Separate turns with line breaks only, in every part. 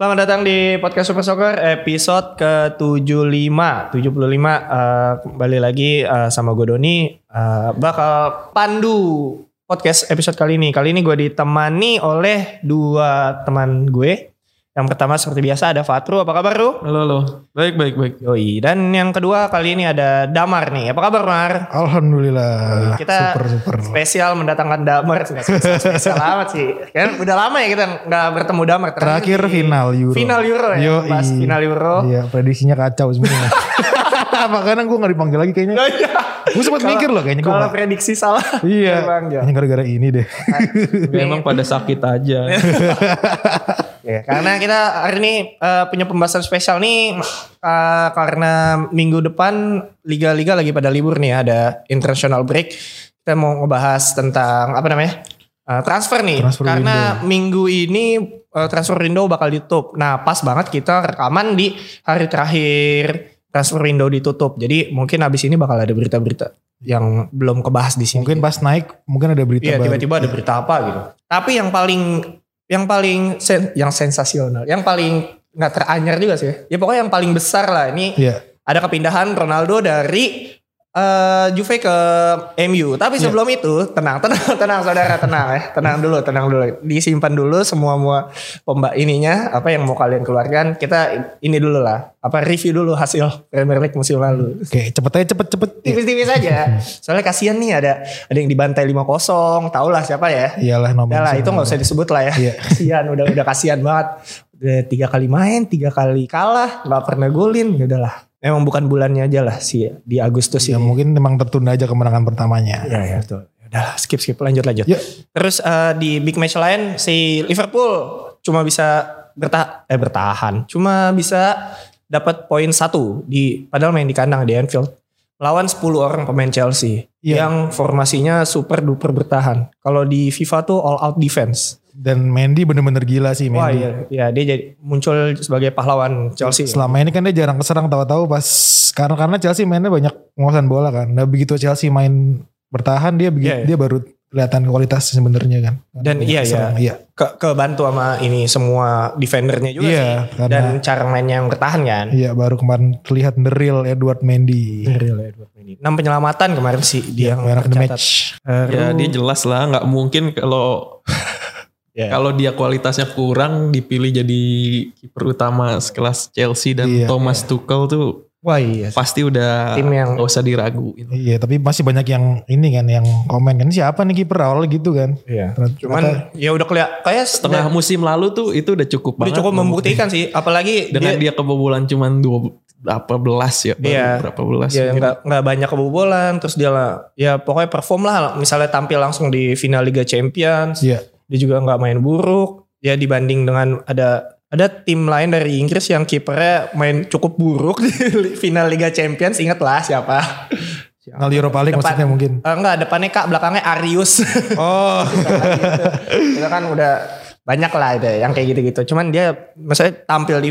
Selamat datang di podcast Super Soccer episode ke-75. 75 eh, kembali lagi eh, sama gue Doni eh, bakal pandu podcast episode kali ini. Kali ini gue ditemani oleh dua teman gue. Yang pertama seperti biasa ada Fatru, apa kabar lu?
Halo, halo. Baik, baik, baik.
Yoi. Dan yang kedua kali ini ada Damar nih. Apa kabar Mar?
Alhamdulillah.
Kita-
super super.
Spesial mendatangkan Damar. Nggak Spesial, spesial amat sih. Kan udah lama ya kita nggak bertemu Damar.
Terakhir
di-
final Euro.
Final Euro ya.
Yoi.
Bahas final Euro.
Iya, prediksinya kacau semua. Makanya gue gak dipanggil lagi kayaknya. Gue sempat mikir loh kayaknya gue.
Kalau prediksi salah.
Iya.
Bang, ya.
Hanya gara-gara ini deh.
Nah,
Memang pada sakit aja.
Ya, karena kita hari ini eh, punya pembahasan spesial nih eh, karena minggu depan liga-liga lagi pada libur nih ada international break. Kita mau ngebahas tentang apa namanya? Eh, transfer nih.
Transfer
karena minggu ini eh, transfer window bakal ditutup. Nah, pas banget kita rekaman di hari terakhir transfer window ditutup. Jadi mungkin habis ini bakal ada berita-berita yang belum kebahas di sini.
Mungkin pas naik mungkin ada berita
Iya
baru.
tiba-tiba ada berita apa gitu. Tapi yang paling yang paling sen- yang sensasional, yang paling nggak teranyar juga sih. Ya pokoknya yang paling besar lah ini
Iya.
ada kepindahan Ronaldo dari eh, Juve ke MU. Tapi
Iya.
sebelum itu tenang, tenang, tenang saudara, tenang ya, tenang dulu, tenang dulu. Disimpan dulu semua semua pembak ininya apa yang mau kalian keluarkan. Kita ini dulu lah, apa review dulu hasil Premier League musim lalu
Oke, cepet aja cepet cepet.
tipis-tipis aja. Soalnya kasihan nih ada ada yang dibantai 5-0, taulah siapa ya.
Iyalah nomor.
Udah lah itu nggak usah disebut lah ya.
Iya.
Kasihan udah udah kasihan banget. Udah tiga kali main, tiga kali kalah, nggak pernah golin, ya udahlah. Memang bukan bulannya aja lah si di Agustus
Ya
ya.
mungkin memang tertunda aja kemenangan pertamanya.
Ya ya betul. Udah skip skip lanjut lanjut.
Yuk.
Terus eh, di big match lain si Liverpool cuma bisa bertahan eh bertahan. Cuma bisa dapat poin satu di padahal main di kandang di Anfield lawan 10 orang pemain Chelsea
Iya.
yang formasinya super duper bertahan. Kalau di FIFA tuh all out defense.
Dan Mendy bener-bener gila sih
Wah
Mendy.
iya, iya dia jadi muncul sebagai pahlawan Chelsea. ya?
Selama ini kan dia jarang keserang tahu-tahu pas karena karena Chelsea mainnya banyak nguasain bola kan. Nah begitu Chelsea main bertahan dia begi-
Iya, iya.
dia baru kelihatan kualitas sebenarnya kan.
Dan
Banyak
iya, iya.
keserang, iya.
Ke kebantu sama ini semua defendernya juga
Iya,
sih.
karena-
Dan cara mainnya yang bertahan kan.
Iya baru kemarin terlihat the real Edward Iya, Mendy. Iya,
Real Edward Mendy. Enam penyelamatan kemarin sih dia yang
man of the
Iya, tercatat.
match.
Baru-
ya, dia jelas lah. Nggak mungkin kalau
Ya.
kalau dia kualitasnya kurang dipilih jadi kiper utama sekelas Chelsea dan
Iya.
Thomas Tuchel tuh
Wah iya.
pasti udah
Tim yang-
nggak usah diraguin.
Iya tapi masih banyak yang ini kan yang komen kan siapa nih kiper awal gitu kan.
Iya.
Ternyata-
Cuman ya udah kelihatan kayak
Setengah musim lalu tuh itu udah cukup
Iya. udah
banget.
cukup membuktikan sih apalagi
dengan dia, kebobolan cuman dua berapa belas ya, baru
Iya.
berapa belas.
Ya
mungkin.
nggak nggak banyak kebobolan terus dia lah ya pokoknya perform lah misalnya tampil langsung di final Liga Champions
Iya.
dia juga nggak main buruk ya dibanding dengan ada ada tim lain dari Inggris yang kipernya main cukup buruk di li- final Liga Champions ingatlah siapa
Ngal Europa League
Depan.
maksudnya mungkin.
Eh, nggak depannya kak belakangnya Arius
Oh.
itu kan udah banyak lah itu yang kayak gitu-gitu cuman dia maksudnya tampil di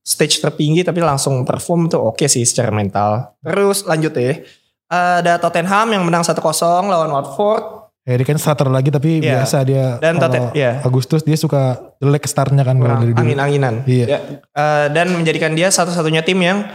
stage tertinggi tapi langsung perform tuh oke sih secara mental terus lanjut ya ada Tottenham yang menang 1-0 lawan Watford
Harry kan starter lagi tapi
Iya.
biasa dia
Dan
kalau
Tote- iya.
Agustus dia suka jelek startnya kan kalau
kurang
dari dulu.
angin-anginan
Iya.
Ya, eh, dan menjadikan dia satu-satunya tim yang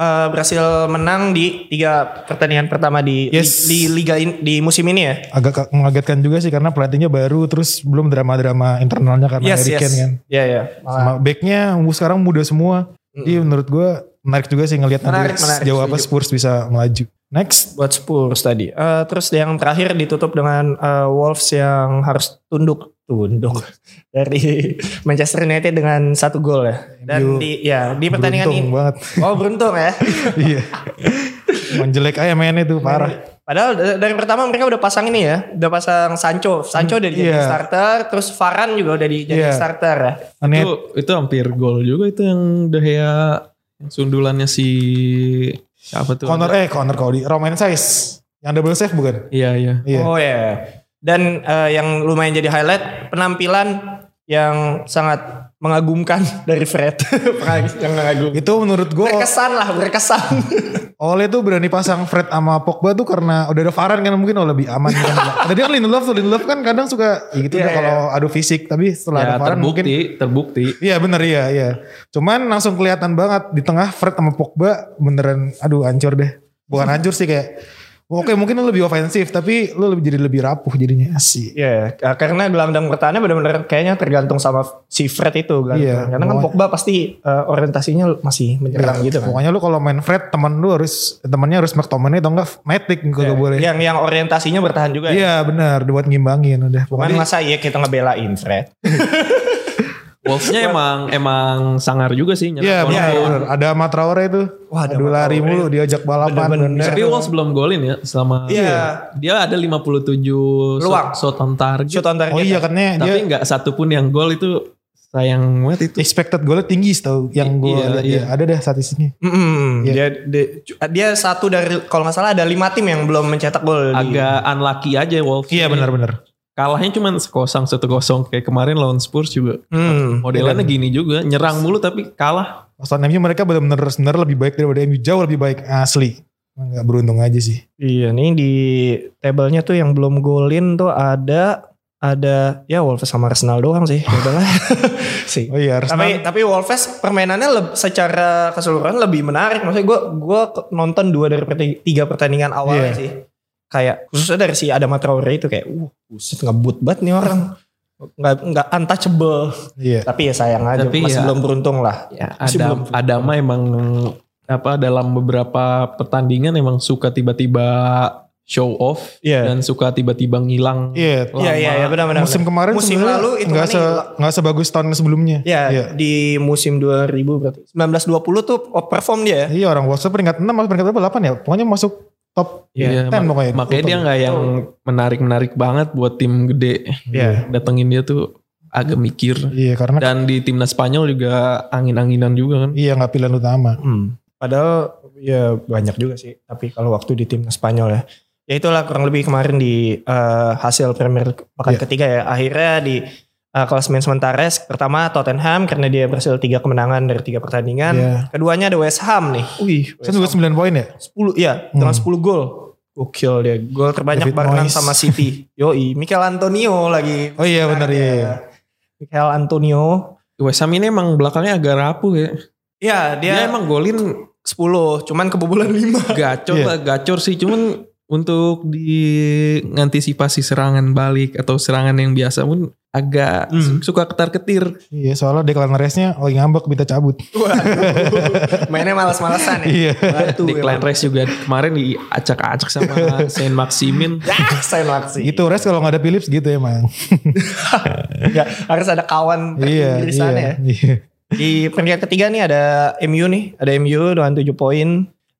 eh, berhasil menang di tiga pertandingan pertama di
Yes.
di, di liga in- di musim ini ya
agak ka- mengagetkan juga sih karena pelatihnya baru terus belum drama-drama internalnya karena
yes
Harry
yes
Kane kan.
ya ya
Sama backnya mu- sekarang muda semua. Jadi menurut gue menarik juga sih ngelihat
Menarik,
nanti
menarik,
sejauh apa
setuju.
Spurs bisa melaju. Next,
buat Spurs tadi. Eh, terus yang terakhir ditutup dengan eh, Wolves yang harus tunduk tunduk dari Manchester United dengan satu gol ya. Dan
MU
di ya di pertandingan
beruntung
ini
banget.
oh beruntung ya.
Iya. Emang jelek aja mainnya tuh parah.
Padahal da- dari pertama mereka udah pasang ini ya, udah pasang Sancho. Sancho udah dijadiin
Iya.
starter, terus Varane juga udah dijadiin
Iya.
starter ya.
Aneh.
itu itu hampir gol juga itu yang De Gea yang sundulannya si siapa tuh?
Connor eh Connor Cody, Romain Saiz yang double save bukan?
Iya iya.
Iya.
Oh ya. Dan eh, yang lumayan jadi highlight penampilan yang sangat mengagumkan dari Fred. Pengagum- yang mengagum.
Itu menurut gue
Berkesan lah, berkesan.
Ole tuh berani pasang Fred sama Pogba tuh karena udah ada Varane kan mungkin oh lebih aman kan. Tadi kan Lindelof tuh Lindelof kan kadang suka ya gitu
Iya,
deh kalau adu fisik tapi setelah ada
Ya,
Varane mungkin
terbukti, terbukti.
Iya bener iya iya. Cuman langsung kelihatan banget di tengah Fred sama Pogba beneran aduh hancur deh. Bukan hancur sih kayak oke mungkin lu lebih ofensif tapi lu lebih jadi lebih rapuh jadinya sih.
Iya, eh, karena gelandang pertahannya benar-benar kayaknya tergantung sama si Fred itu gelandang.
Iya,
Karena kan
pokoknya.
Pogba pasti eh, orientasinya masih menyerang gitu kan.
Pokoknya lu kalau main Fred temen lu harus temennya harus McTominay atau enggak Matic kalau boleh. Iya
Yang yang orientasinya bertahan juga. ya.
benar buat ngimbangin udah.
Cuman
Pokoknya
masa iya kita ngebelain Fred.
Wolves-nya emang emang sangar juga sih. nyerang
Iya
gol.
benar. benar. Ada Matraore tuh.
Wah, ada
aduh lari
Matraore.
mulu diajak balapan.
Bener-bener.
bener.
Tapi Wolves belum golin ya selama
Iya.
dia ada
Luang.
57 shot, shot on target.
Shoot on target. ya?
Oh iya katanya dia
tapi nggak satu pun yang gol itu sayang banget itu.
expected golnya tinggi setahu yang gue
Iya,
lihat
iya.
ya. Ada deh statistiknya.
Mm-mm.
Iya.
Dia, dia dia satu dari kalau nggak salah ada lima tim yang belum mencetak gol. di-
Agak unlucky aja Wolves.
Iya benar-benar.
Kalahnya cuma sekosong satu kosong kayak kemarin lawan Spurs juga.
Hmm.
Modelannya
Iya.
gini juga, nyerang mulu tapi kalah.
Pas lawan MU mereka benar-benar sebenarnya lebih baik daripada MU jauh lebih baik asli. Enggak beruntung aja sih.
Iya nih di tabelnya tuh yang belum golin tuh ada ada ya Wolves sama Arsenal doang sih. Ya udahlah. sih.
Oh iya harus
Tapi tapi Wolves permainannya leb- secara keseluruhan lebih menarik. Maksudnya gue gua ke- nonton dua dari perti- tiga pertandingan awalnya
Iya.
sih. Kayak khususnya dari si Adama Traore itu kayak uh buset ngebut banget nih orang. Nggak nggak untouchable.
iya.
Tapi ya sayang aja
Tapi
masih
ya-
belum beruntung lah.
Ya,
Masih
ada
belum.
Adama emang apa dalam beberapa pertandingan emang suka tiba-tiba show off
Iya.
dan suka tiba-tiba ngilang.
Iya.
Iya iya iya benar benar.
Musim kemarin
Musim
sebenarnya
lalu itu
nggak
kan
se
hilang.
nggak sebagus tahun sebelumnya.
Ya,
Iya.
di musim 2000 berarti 1920 tuh perform dia. ya.
Iya orang Wolves peringkat 6 atau peringkat berapa 8 ya? Pokoknya masuk top
Iya,
10
mak-
pokoknya.
makanya dia
Top.
nggak yang menarik-menarik banget buat tim gede.
Iya.
Datengin dia tuh agak mikir.
Iya karena
Dan di timnas Spanyol juga angin-anginan juga kan.
iya nggak pilihan utama.
Hmm. Padahal ya banyak juga sih. Tapi kalau waktu di timnas Spanyol ya, ya itulah kurang lebih kemarin di eh, hasil Premier League pekan
Iya.
ketiga ya. Akhirnya di eh, klasemen sementara pertama Tottenham karena dia berhasil tiga kemenangan dari tiga pertandingan.
Iya.
Keduanya ada West Ham nih. Wih,
Saya juga 9 poin ya?
10 ya dengan
Hmm.
10 gol. Gokil dia. Gol terbanyak
David
barengan
Moyes.
sama City. Yoi, Mikel Antonio lagi.
Oh iya benar iya.
ya.
iya.
Mikel Antonio.
West Ham ini emang belakangnya agak rapuh ya.
Ya,
Dia,
dia,
emang golin
10, cuman kebobolan 5.
gacor
Iya.
lah, gacor sih. Cuman untuk di ngantisipasi serangan balik atau serangan yang biasa pun agak
Hmm.
su- suka ketar-ketir.
Iya soalnya Declan Rice-nya lagi ngambek minta cabut.
Mainnya malas-malasan ya.
Iya.
Batu
Declan Rice juga kemarin diacak-acak sama Saint Maximin.
Ya, saya laksi.
Gitu Rice kalau nggak ada Philips gitu emang.
Ya, harus ada kawan
iya.
di sana ya.
Iya. iya.
Di peringkat ketiga nih ada MU nih, ada MU dengan 7 poin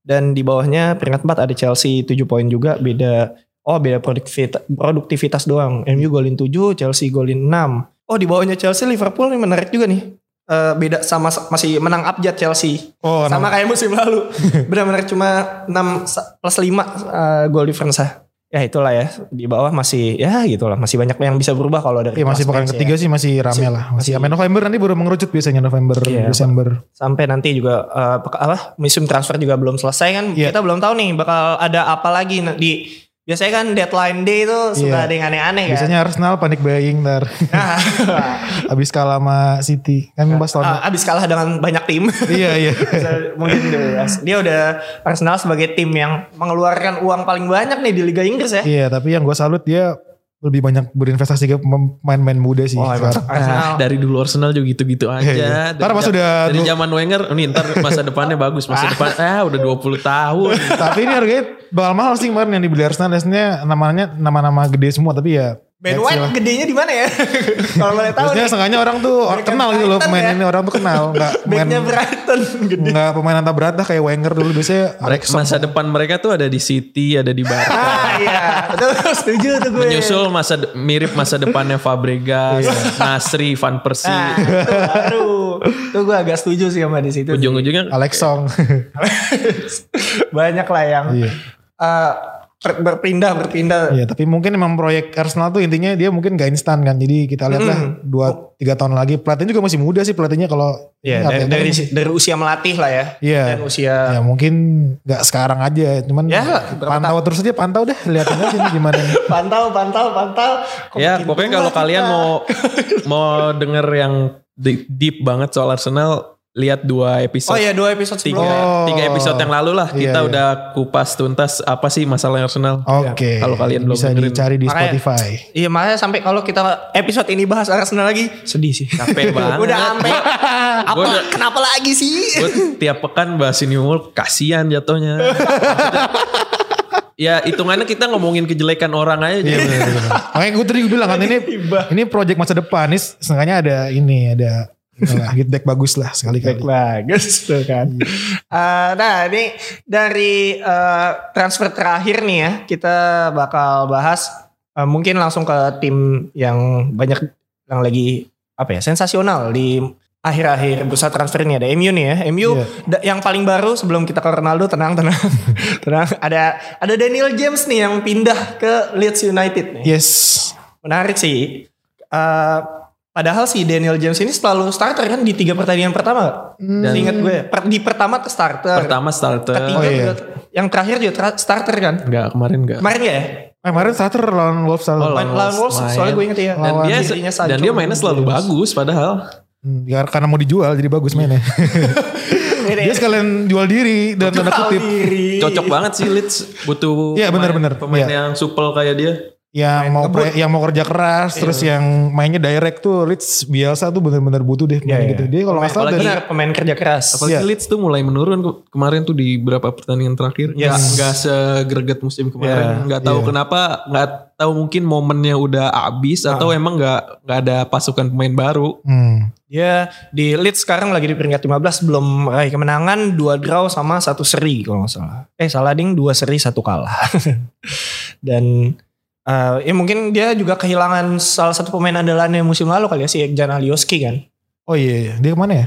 dan di bawahnya peringkat 4 ada Chelsea 7 poin juga beda oh beda produktivitas, produktivitas doang. MU golin 7, Chelsea golin 6. Oh, di bawahnya Chelsea Liverpool nih menarik juga nih. Eh, beda sama masih menang abjad Chelsea.
Oh,
sama kayak musim lalu. Benar-benar cuma 6 plus 5 gol difference ah. Ya itulah ya. Di bawah masih ya gitulah, masih banyak yang bisa berubah kalau dari
Iya masih
kelas
pekan
match ya.
ketiga sih masih rame lah. Masih,
masih-
sampai November nanti baru mengerucut biasanya November
Iya.
Desember.
sampai nanti juga eh, peka- apa musim transfer juga belum selesai kan
Iya.
kita belum tahu nih bakal ada apa lagi na- di biasanya kan deadline day itu suka
Iya.
ada yang aneh-aneh kan
Biasanya Arsenal panik buying ntar
nah,
abis kalah sama City. Kan bahas
eh,
tahun.
abis kalah dengan banyak tim
iya iya.
Bisa- mungkin dia- ya. dia udah Arsenal sebagai tim yang mengeluarkan uang paling banyak nih di Liga Inggris ya
Iya tapi yang gue salut dia lebih banyak berinvestasi ke pemain-pemain muda sih.
Wah, emang
sekarang.
Arsenal
Ah, dari dulu Arsenal juga gitu-gitu aja.
Iya.
Dari
Ntar pas
jam-
udah
dari
du-
zaman Wenger, nih ntar masa depannya bagus, masa depan ah udah 20 tahun.
tapi ini harganya bakal mahal sih kemarin yang dibeli Arsenal. Biasanya namanya nama-nama gede semua tapi ya.
Ben
ya,
White gedenya di mana ya kalau boleh tahu
Biasanya
nih
sengaja orang tuh
Mereka
kenal gitu loh
Brighton
pemain
ya.
ini orang tuh kenal nggak pemain
backnya Brighton gede
nggak pemain antar berantah kayak Wenger dulu biasanya
Mereka, masa depan mereka tuh ada di City, ada di Barca.
ah iya betul setuju tuh gue
Menyusul masa de- mirip masa depannya Fabregas, Nasri, Van Persie.
Nah, itu baru. Tuh gue agak setuju sih sama di situ.
Ujung-ujungnya
Alex Song.
Banyak lah yang
Iya.
eh, ber- berpindah berpindah.
Iya, tapi mungkin emang proyek Arsenal tuh intinya dia mungkin gak instan kan. Jadi kita lihatlah dua tiga tahun lagi. Pelatihnya juga masih muda sih pelatihnya kalau
Iya, dari,
Arteta kan-
dari dari usia melatih lah ya.
Iya.
Dan usia
Ya mungkin gak sekarang aja, cuman
Ya, berapa
pantau terus aja, pantau deh, liatin aja nih gimana. nih.
Iya. pantau pantau pantau. Kok
ya
bikin
pokoknya
tua
kalau
kita?
kalian mau mau denger yang deep, deep banget soal Arsenal lihat
Oh
dua episode
iya dua episode
tiga
sebelumnya.
Oh.
tiga episode yang lalu lah
Iya,
kita
iya.
udah kupas tuntas apa sih masalah Arsenal
Oh.
Oke.
Iya, Kalau kalian belum
bisa
dengerin.
dicari di
Makanya-
Spotify.
Iya makanya sampai kalau kita episode ini bahas Arsenal lagi sedih sih.
capek banget
Udah sampai apa
Gua udah-
kenapa lagi sih?
Gua tiap pekan bahas ini mulu kasihan jatuhnya Maksudnya, ya hitungannya kita ngomongin kejelekan orang aja
Iya
jadi
benar benar. Makanya gue tadi gue bilang kan ini
Hibah.
ini project masa depan nih seenggaknya ada ini ada inilah, feedback bagus lah sekali-kali.
bagus tuh kan. Eh, nah ini dari eh, transfer terakhir nih ya kita bakal bahas eh, mungkin langsung ke tim yang banyak yang lagi apa ya sensasional di akhir-akhir bursa transfer ini ada MU nih ya MU
Iya.
da- yang paling baru sebelum kita ke Ronaldo tenang tenang tenang ada ada Daniel James nih yang pindah ke Leeds United nih
Yes.
menarik sih Eh, padahal si Daniel James ini selalu starter kan di tiga pertandingan pertama dan ingat gue per- di pertama ke starter
pertama starter
ketiga
Oh, iya.
juga, yang terakhir juga tra- starter kan
enggak kemarin enggak
kemarin ya
Eh, kemarin starter lawan Wolves
Oh,
lawan.
main lawan Wolves
main.
soalnya gue inget ya
dan
Lawan
dia
dirinya
dan
Sancho. Iya.
dia mainnya selalu bagus padahal
Hmm, ya, karena mau dijual jadi bagus mainnya.
Ini-
Dia sekalian ya. jual diri dan tanda kutip.
Diri.
cocok banget sih Leeds butuh
Iya,
pemain-
bener-bener.
pemain
Iya.
yang supel kayak dia
yang mau pre- yang mau kerja keras terus yang mainnya direct tuh Leeds biasa tuh bener-bener butuh deh
Iya,
pemain
iya.
gitu. Dia kalau nggak salah
apalagi
dari
Benar, pemain kerja keras
apalagi
Iya.
Leeds tuh mulai menurun ke- kemarin tuh di beberapa pertandingan terakhir nggak
Yes.
nggak segreget musim kemarin nggak tahu
Iya.
kenapa nggak tahu mungkin momennya udah abis
Ah.
atau emang nggak nggak ada pasukan pemain baru
hmm,
Dia di Leeds sekarang lagi di peringkat 15 belum meraih kemenangan, dua draw sama satu seri kalau nggak salah. Eh salah ding, dua seri satu kalah. Dan eh, ya mungkin dia juga kehilangan salah satu pemain andalannya musim lalu kali ya si Ekjan Alioski kan.
oh iya iya. dia kemana ya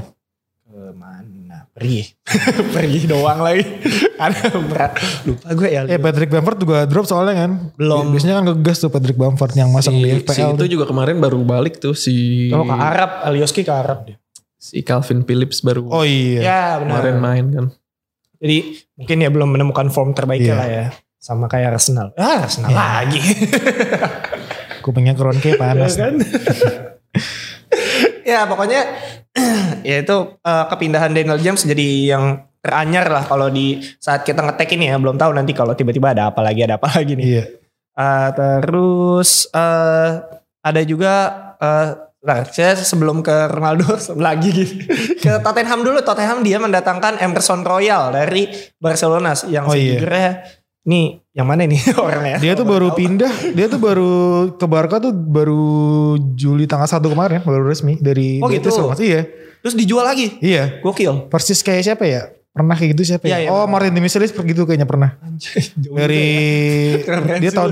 Kemana? Pergi. Pergi doang lagi. Ada berat. Lupa gue ya.
eh Patrick Bamford juga drop soalnya kan
Belum.
biasanya kan ngegas tuh Patrick Bamford yang masang di
si, si itu
FPL tuh. Oh,
juga kemarin baru balik tuh si
Kalau Oh, ke Arab, Alioski ke Arab dia.
si Calvin Phillips baru
oh iya
Ya benar.
kemarin main kan
Jadi mungkin ya belum menemukan form terbaiknya
Iya.
lah ya. Sama kayak Arsenal. Ah Arsenal
Iya.
lagi.
kupingnya Kronke panas
Ya kan? ya pokoknya ya itu eh, kepindahan Daniel James jadi yang teranyar lah kalau di saat kita ngetek ini ya belum tahu nanti kalau tiba-tiba ada apa lagi ada apa lagi nih.
iya
Eh, terus eh, ada juga eh, nah, saya sebelum ke Ronaldo lagi gitu. ke Tottenham dulu Tottenham dia mendatangkan Emerson Royal dari Barcelona yang
Oh, iya.
sejujurnya nih yang mana nih orangnya
dia tuh baru pindah dia tuh baru ke Barca tuh baru Juli tanggal 1 kemarin baru resmi dari
Oh, gitu.
Betis kalau nggak salah. iya
terus dijual lagi
iya
gokil
persis kayak siapa ya pernah kayak gitu siapa ya,
Iya, iya,
oh
benar.
Martin Demichelis pergi tuh kayaknya pernah
Anjay, jauh
dari
juga ya. Referensi
dia tahun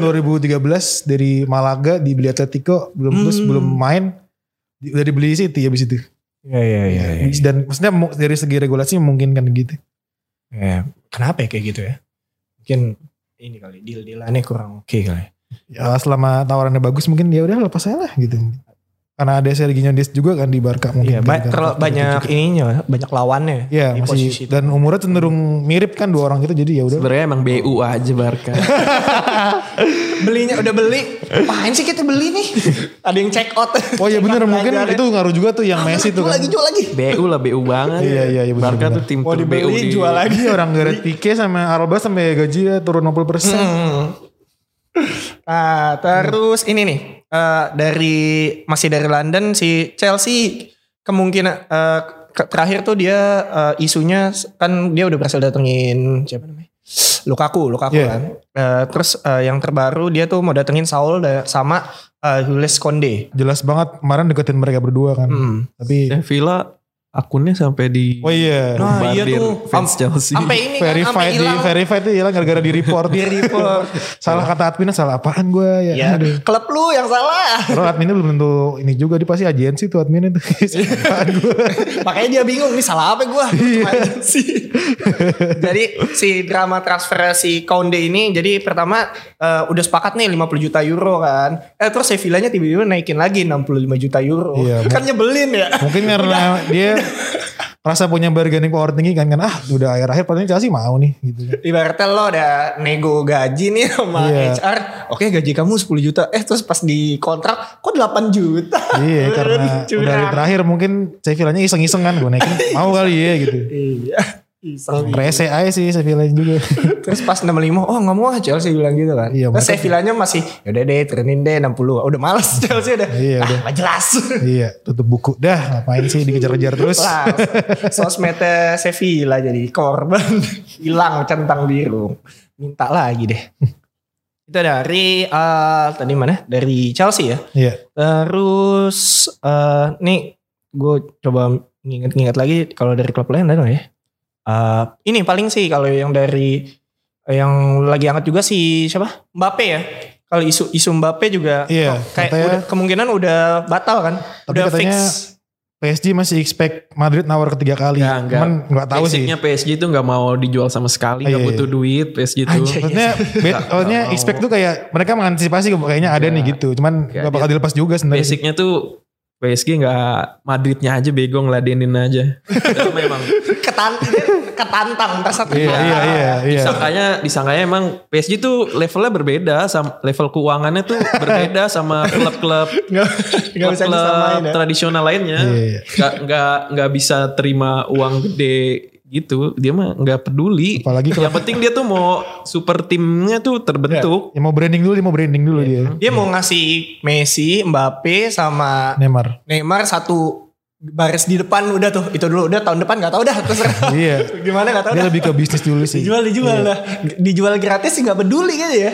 2013 dari Malaga dibeli Atletico belum terus
Hmm.
belum main di- udah dibeli City habis itu
Iya iya iya. iya.
dan maksudnya mu- dari segi regulasi memungkinkan gitu
Ya, Kenapa ya kayak gitu ya? Mungkin ini kali deal dealannya kurang oke kali.
ya, selama tawarannya bagus mungkin ya udah lepas aja lah gitu karena ada Sergio Des juga kan di Barca
Iya,
mungkin
ba- terlalu banyak ininya, banyak lawannya.
ya
di posisi
masih
itu.
dan umurnya cenderung mirip kan dua orang itu jadi ya udah
sebenarnya emang BU aja Barca
Belinya udah beli. Apaan sih kita beli nih? Ada yang check out.
oh iya
Check
bener
out
mungkin
belajarnya.
itu ngaruh juga tuh yang
Ah,
Messi tuh
jual
kan
Lagi jual lagi.
BU lah BU banget
Iya, iya, iya,
Barca
bener-bener.
tuh tim
Mau
tur
dibeli
di-
jual lagi.
Iya orang Gareth Pique sama Alba sampai gajinya turun 60 persen.
Hmm. Nah, terus ini nih eh, dari masih dari London si Chelsea kemungkinan eh, ke- terakhir tuh dia eh, isunya kan dia udah berhasil datengin siapa namanya Lukaku, Lukaku
Iya.
kan. Eh, terus eh, yang terbaru dia tuh mau datengin Saul da- sama eh, Jules Konde.
Jelas banget kemarin deketin mereka berdua kan.
Hmm.
Tapi
Eh, Villa akunnya sampai di
Oh iya.
Nah, iya
bombardir
tuh.
fans Chelsea.
Sampai ini kan, sampai
verified di
hilang. Iya,
verified itu hilang gara-gara di report.
Di report.
salah kata adminnya salah apaan gue ya.
Ya,
Aduh.
klub lu yang salah.
Terus adminnya belum tentu ini juga dia pasti agensi tuh adminnya tuh.
Iya.
Apaan gua.
Makanya dia bingung nih salah apa gua. Cuman Iya sih. jadi si drama transfer si Konde ini jadi pertama eh, udah sepakat nih 50 juta euro kan. Eh terus Sevillanya tiba-tiba naikin lagi 65 juta euro.
Iya,
kan nyebelin ya.
Mungkin karena dia rasa punya bargaining power tinggi kan kan ah udah akhir-akhir paling Chelsea mau nih gitu.
Ibaratnya lo udah nego gaji nih sama
Iya.
HR. Oke gaji kamu 10 juta. Eh terus pas di kontrak kok 8 juta.
Iya karena udah
Curang.
hari terakhir mungkin Sevillanya iseng-iseng kan gue naikin mau kali ya gitu.
Iya.
Oh,
Iseng.
gitu.
Rese aja sih Sevilla juga.
Terus pas 65, oh nggak mau ah Chelsea bilang gitu kan.
Iya,
Terus
mereka-
Sevillanya masih, yaudah deh turunin deh 60. Udah males Chelsea udah.
Iya,
ah,
udah.
nggak jelas.
iya tutup buku dah ngapain sih dikejar-kejar terus.
Lah, sosmednya Sevilla jadi korban. Hilang centang biru. Minta lagi deh. Itu dari, eh, tadi mana? Dari Chelsea ya.
Iya.
Terus, eh, nih gue coba nginget-nginget lagi kalau dari klub lain ada nggak ya? Eh, ini paling sih kalau yang dari yang lagi hangat juga si siapa? Mbappe ya. Kalau isu isu Mbappe juga
Iya,
kayak
katanya-
udah- kemungkinan udah batal kan?
Tapi
udah
katanya
fix.
PSG masih expect Madrid nawar ketiga kali.
Nggak, nggak.
Cuman nggak tahu sih.
Basicnya PSG itu nggak mau dijual sama sekali, nggak
Iya,
butuh duit PSG itu.
Anjay.
Maksudnya, bet,
Nggak,
maksudnya
nggak mau.
expect tuh kayak mereka mengantisipasi kayaknya ada
Iya.
nih gitu. Cuman
Kayak
nggak bakal dilepas juga sebenarnya.
Basicnya tuh PSG nggak Madridnya aja bego ngeladenin aja. Itu memang
Ketan- dia ketantang ntar satu
Iya,
kali.
iya, iya, iya.
disangkanya disangkanya emang PSG tuh levelnya berbeda sama level keuangannya tuh berbeda sama klub-klub
Nggak nggak bisa disamain
klub-klub
ya.
tradisional lainnya.
Iya, iya.
Nggak nggak nggak bisa terima uang gede gitu dia mah nggak peduli
Apalagi kalau-
yang penting dia tuh mau super timnya tuh terbentuk
Ya mau branding dulu, dia mau branding dulu dia.
Dia mau ngasih Messi, Mbappe sama
Neymar.
Neymar satu baris di depan udah tuh itu dulu udah tahun depan nggak tahu dah terserah
Iya.
gimana nggak tahu
Dia
dah
lebih ke bisnis dulu sih. Iya.
dijual dijual lah dijual gratis sih nggak peduli gitu ya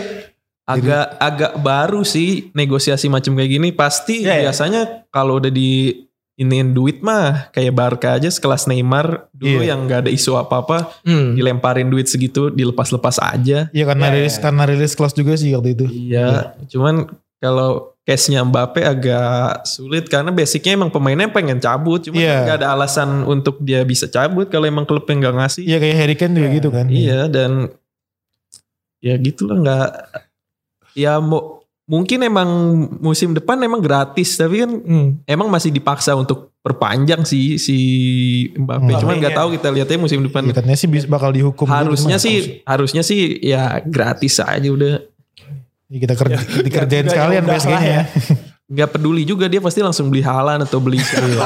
agak agak baru sih negosiasi macam kayak gini pasti
Iya, iya.
biasanya kalau udah di iniin duit mah kayak Barca aja sekelas Neymar dulu
Iya.
yang nggak ada isu apa-apa
hmm.
dilemparin duit segitu dilepas-lepas aja
Iya karena
Iya,
rilis karena rilis close juga sih waktu itu.
iya cuman kalau case-nya Mbappe agak sulit karena basicnya emang pemainnya pengen cabut cuman
Iya.
nggak ada alasan untuk dia bisa cabut kalau emang klubnya nggak ngasih
Iya kayak Harry Kane juga
Iya.
gitu kan.
Iya dan ya gitulah nggak ya mu- mungkin emang musim depan emang gratis tapi kan
Hmm.
emang masih dipaksa untuk perpanjang si si Mbappe.
Hmm.
Cuman nggak tahu kita lihatnya musim depan
Ya, katanya sih bis- bakal dihukum. dulu,
harusnya
cuman nggak tahu
sih harusnya sih ya gratis aja udah
sih. Ya, kita kerja, dikerjain
Ya,
sekalian
udah lah
PSG nya
ya.
ya.
nggak peduli juga dia pasti langsung beli halan atau beli siapa.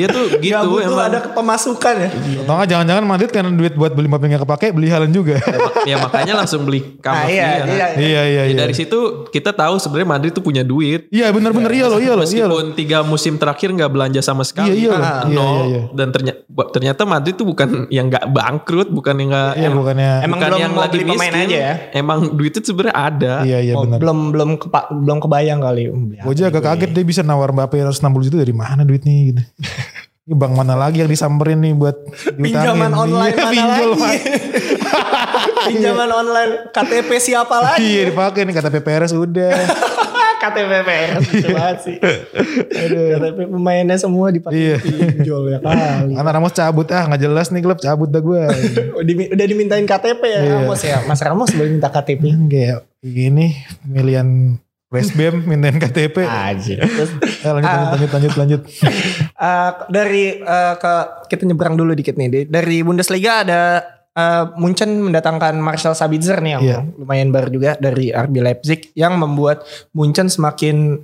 dia
Nggak
tuh gitu
butuh
emang
ada pemasukan ya
Atau nggak jangan-jangan Madrid karena duit buat beli Mbappe nggak kepake beli Haaland juga.
ya makanya langsung beli
nah,
kamar
iya, iya.
iya iya iya.
dari situ kita tahu sebenarnya Madrid tuh punya duit
Iya benar-benar iya loh iya loh iya loh.
Meskipun tiga musim terakhir nggak belanja sama sekali,
Iya, iya,
ah,
iya,
nol.
iya, iya.
Dan ternyata, ternyata Madrid itu bukan yang nggak bangkrut, bukan yang nggak
Iya bukannya
emang
bukan
belum
yang
mau
lagi
beli pemain
miskin.
aja ya
Emang duit itu sebenarnya ada.
iya iya
Oh,
benar.
belum belum kepa, belum kebayang kali Hmm, beli apa
Gue aja agak
nih
kaget dia bisa nawar Mbappe 160 juta dari mana duitnya gitu. Ini bank mana lagi yang disamperin nih buat diutangin.
pinjaman online
Iya,
mana
pinjol
lagi
mana.
pinjaman online KTP siapa lagi
Iya dipakai nih kata PPRS udah.
KTP PR lucu banget sih KTP pemainnya semua dipakai
Iya.
pinjol ya kali
Anak Ramos cabut ah nggak jelas nih klub cabut dah gue.
Dimi- udah dimintain KTP ya
Iya.
Ramos ya Mas Ramos boleh minta KTP
Kayak begini pemilihan West Bam mintain KTP.
aja terus
Eh, lanjut, lanjut lanjut lanjut lanjut.
eh, dari eh, ke kita nyebrang dulu dikit nih Di- dari Bundesliga ada eh, Munchen mendatangkan Marcel Sabitzer nih yang
Iya.
lumayan baru juga dari RB Leipzig yang membuat Munchen semakin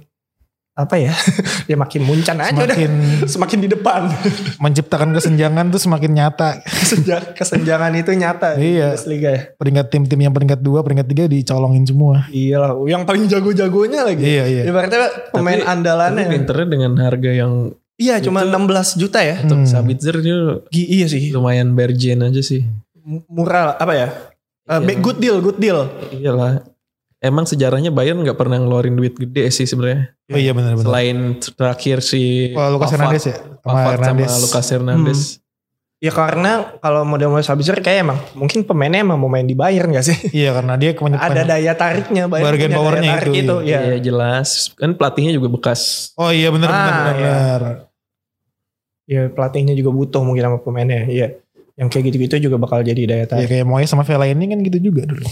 apa ya ya makin Munchen aja udah
Semakin
semakin di depan
menciptakan kesenjangan tuh semakin nyata.
Kesenja- kesenjangan itu nyata di
Iya.
Bundesliga ya
Peringkat tim-tim yang peringkat 2, peringkat 3 dicolongin semua.
iya lah yang paling jago-jagonya lagi
Iya iya.
Ibaratnya pemain
Tapi- Tapi
andalannya
pinternya dengan harga yang
Iya cuma 16 juta ya.
untuk
Hmm.
Sabitzer dia
Gi- iya sih.
lumayan berjen aja sih.
M- Murah lah, apa ya? Eh,
Iya.
ba- good deal, good deal.
Iyalah. emang sejarahnya Bayern nggak pernah ngeluarin duit gede sih sebenarnya.
Oh iya benar-benar.
Selain terakhir si
Wah, Lucas Hernandez ya? Sama
Pavard sama
Hernandez. Hmm.
Lucas Hernandez.
Ya karena kalau model-model Sabitzer kayak emang mungkin pemainnya emang mau main di Bayern gak sih?
Iya karena dia kebanyakan.
Ada daya tariknya Bayern.
Bargain
punya daya
powernya
tarik
itu,
itu.
Iya
ya.
jelas. Kan pelatihnya juga bekas.
Oh iya benar
Ah,
benar benar.
iya. Ya, pelatihnya juga butuh mungkin sama pemainnya. Iya. Yang kayak gitu-gitu juga bakal jadi daya
Ya
tarik.
kayak Moyes sama Vela ini kan gitu juga dulu.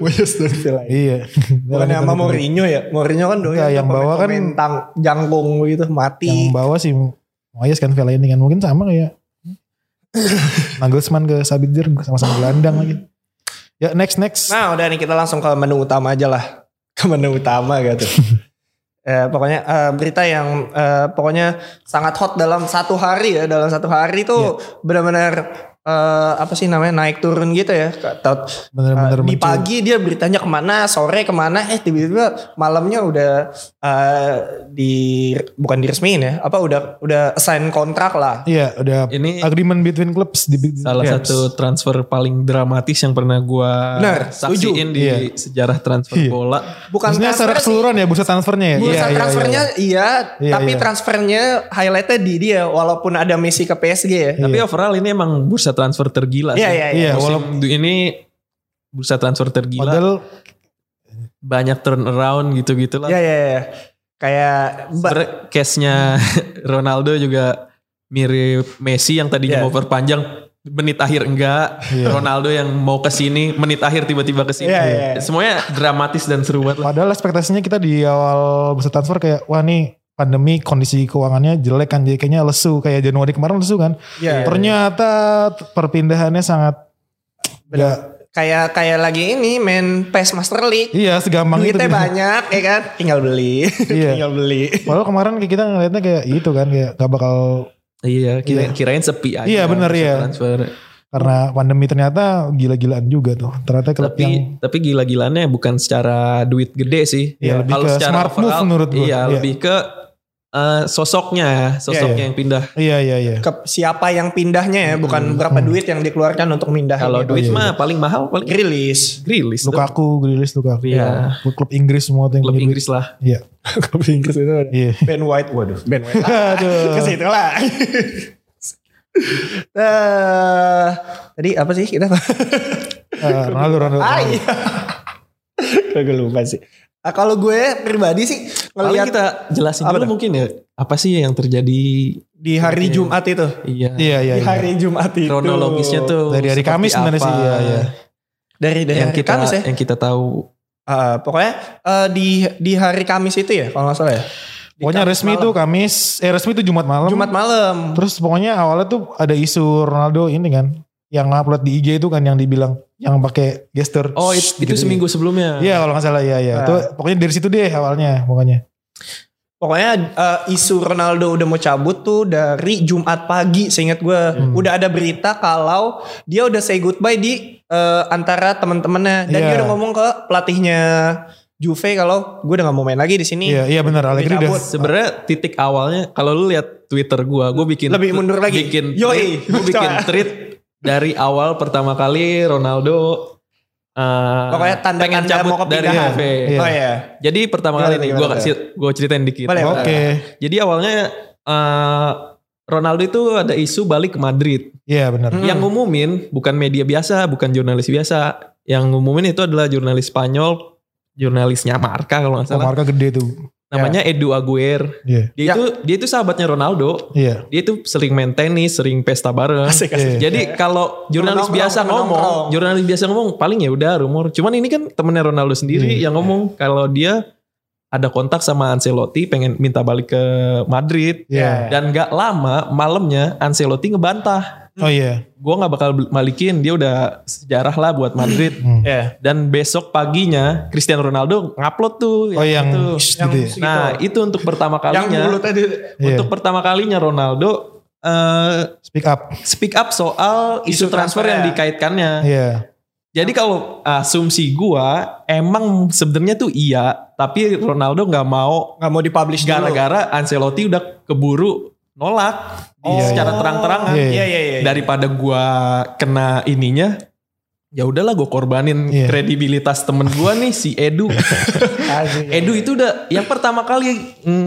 Moyes dan Villa.
iya.
Bukan sama Mourinho ya. Mourinho kan doyan
Enggak,
tuh
yang bawah kan-
pemain-pemain tang, jangkung gitu mati.
Yang bawa sih Moyes kan Vela ini kan mungkin sama kayak Nagelsmann ke Sabitzer sama-sama gelandang lagi. Ya next next.
Nah udah nih kita langsung ke menu utama aja lah. Ke menu utama gitu. Eh, pokoknya eh, berita yang eh, pokoknya sangat hot dalam satu hari ya. Dalam satu hari
Iya.
tuh benar-benar eh, apa sih namanya naik turun gitu ya. Tau-
Bener-bener
Eh, di
muncul.
pagi dia beritanya kemana, sore kemana, eh tiba-tiba malamnya udah eh, di bukan diresmiin ya, apa udah udah sign kontrak lah.
Iya udah
Ini
agreement between clubs di
salah
clubs.
satu transfer paling dramatis yang pernah gua
Benar, setuju.
saksiin di
Iya.
sejarah transfer
Iya.
bola.
Bukan
Maksudnya
transfer
secara
sih,
keseluruhan ya bursa transfernya ya.
bursa transfernya iya,
Iya,
tapi
iya.
transfernya highlightnya di dia walaupun ada Messi ke PSG ya.
Tapi overall ini emang bursa transfer tergila
Iya
sih.
iya iya.
Iya,
Musim
walaupun
ini bursa transfer tergila,
modal
banyak turnaround gitu-gitu lah.
Iya iya iya. Kayak ba-
Sebenernya case-nya Ronaldo juga mirip Messi yang tadinya
Iya.
mau perpanjang menit akhir enggak.
Iya.
Ronaldo yang mau ke sini menit akhir tiba-tiba ke sini.
Iya, iya.
Semuanya dramatis dan seru banget lah.
Padahal ekspektasinya kita di awal bursa transfer kayak wah nih pandemi kondisi keuangannya jelek kan jadi kayaknya lesu kayak Januari kemarin lesu kan.
iya, iya.
Ternyata t- perpindahannya sangat
Benar.
Nggak-
kayak kayak lagi ini main PES Master League.
iya segampang itu.
Duitnya banyak ya kan, tinggal beli.
Iya.
tinggal beli.
Padahal kemarin kayak kita ngeliatnya kayak itu kan kayak gak bakal
Iya, kira- kirain sepi aja.
Iya, bener,
bursa
iya.
Transfer.
karena pandemi ternyata gila-gilaan juga tuh. Ternyata klub
Tapi
yang
tapi gila-gilannya bukan secara duit gede sih. Ya,
Iya, lebih
Kalau
ke
secara
smart move
overall,
menurut gua.
Iya,
Iya.
lebih ke eh, sosoknya ya, sosoknya
iya.
yang pindah.
iya iya iya.
ke siapa yang pindahnya ya, bukan berapa duit yang dikeluarkan untuk pindah.
Kalau
Gitu.
duit
iya,
mah paling mahal paling
rilis.
Grilis.
Lukaku, Grilis Lukaku.
Iya.
Klub, klub Inggris semua tuh yang
Klub
punya duit.
Inggris lah.
Iya.
Klub Inggris itu ada.
Iya.
Ben White, waduh. Ben White.
Aduh.
Ke situ lah. Eh, tadi apa sih kita?
Eh, Ronaldo, Ronaldo.
ah
Ronaldo.
iya. gue lupa sih. Ah, kalau gue pribadi sih
Paling
ngelihat
kita jelasin
Apa
dulu
dah?
mungkin ya apa sih yang terjadi
di hari
Oke.
Jumat itu,
iya
Iya iya.
di
iya.
hari Jumat itu
kronologisnya tuh
Dari hari
seperti
Kamis sebenarnya
apa
sih, iya, iya.
dari dari
yang
hari
kita
Kamis ya.
yang kita tahu
Ah, pokoknya eh, di di hari Kamis itu ya kalau nggak salah ya. Di
Pokoknya
Kamis
resmi
malam.
itu Kamis, eh resmi itu Jumat malam.
Jumat malam.
Terus pokoknya awalnya tuh ada isu Ronaldo ini kan, yang upload di IG itu kan yang dibilang yang pakai gesture.
oh it- itu
Gitu.
seminggu sebelumnya
Iya kalau nggak salah iya iya. Itu pokoknya dari situ deh awalnya pokoknya.
Pokoknya eh, isu Ronaldo udah mau cabut tuh dari Jumat pagi seingat gue
Hmm.
udah ada berita kalau dia udah say goodbye di eh, antara teman-temannya dan
Iya.
dia udah ngomong ke pelatihnya Juve kalau gue udah gak mau main lagi di sini.
Iya iya benar Allegri udah.
cabut.
sebenarnya titik awalnya kalau lu lihat Twitter gua gua bikin
Lebih mundur lagi.
bikin
Yoi.
tweet, gua bikin tweet dari awal pertama kali Ronaldo eh,
Pokoknya tanda-tanda
pengen cabut
mau
dari
kepindahan.
HV.
Iya.
Oh iya.
Jadi pertama
Gimana,
kali nih gua
gimana?
kasih gua ceritain dikit.
Boleh,
Oke.
Jadi awalnya eh, Ronaldo itu ada isu balik ke Madrid.
Iya benar.
Hmm.
Yang ngumumin bukan media biasa, bukan jurnalis biasa. Yang ngumumin itu adalah jurnalis Spanyol, jurnalisnya Marka kalau nggak
Oh,
salah.
marka gede tuh.
Namanya Edu Aguirre.
Iya.
Dia
Ya.
itu dia itu sahabatnya Ronaldo.
Iya.
Dia itu sering main tenis, sering pesta bareng.
Asik asik.
Jadi
Iya.
kalau jurnalis
Nongkrong,
biasa
nongkrong.
ngomong, jurnalis biasa ngomong paling ya udah rumor. Cuman ini kan temennya Ronaldo sendiri
Iya.
yang ngomong kalau dia ada kontak sama Ancelotti pengen minta balik ke Madrid
Iya.
dan nggak lama malamnya Ancelotti ngebantah
Oh iya.
gue nggak bakal bel- balikin dia udah sejarah lah buat Madrid
Hmm.
Iya.
dan besok paginya Cristiano Ronaldo ngupload tuh
Oh yang
Iya, itu.
shh,
Yang
gitu ya.
nah itu untuk pertama
yang
kalinya
mulutnya di
Iya.
untuk pertama kalinya Ronaldo eh,
Speak up.
speak up soal isu
Isu transfer
transfer yang
ya.
dikaitkannya
Iya.
jadi kalau asumsi gua emang sebenarnya tuh iya tapi Ronaldo nggak mau
nggak mau dipublish dulu.
gara-gara Ancelotti udah keburu nolak
Oh.
iya, secara terang-terangan
Iya iya iya.
daripada gua kena ininya ya udahlah gue korbanin
Iya.
kredibilitas temen gue nih si Edu.
Iya,
Asik.
Edu itu udah yang pertama kali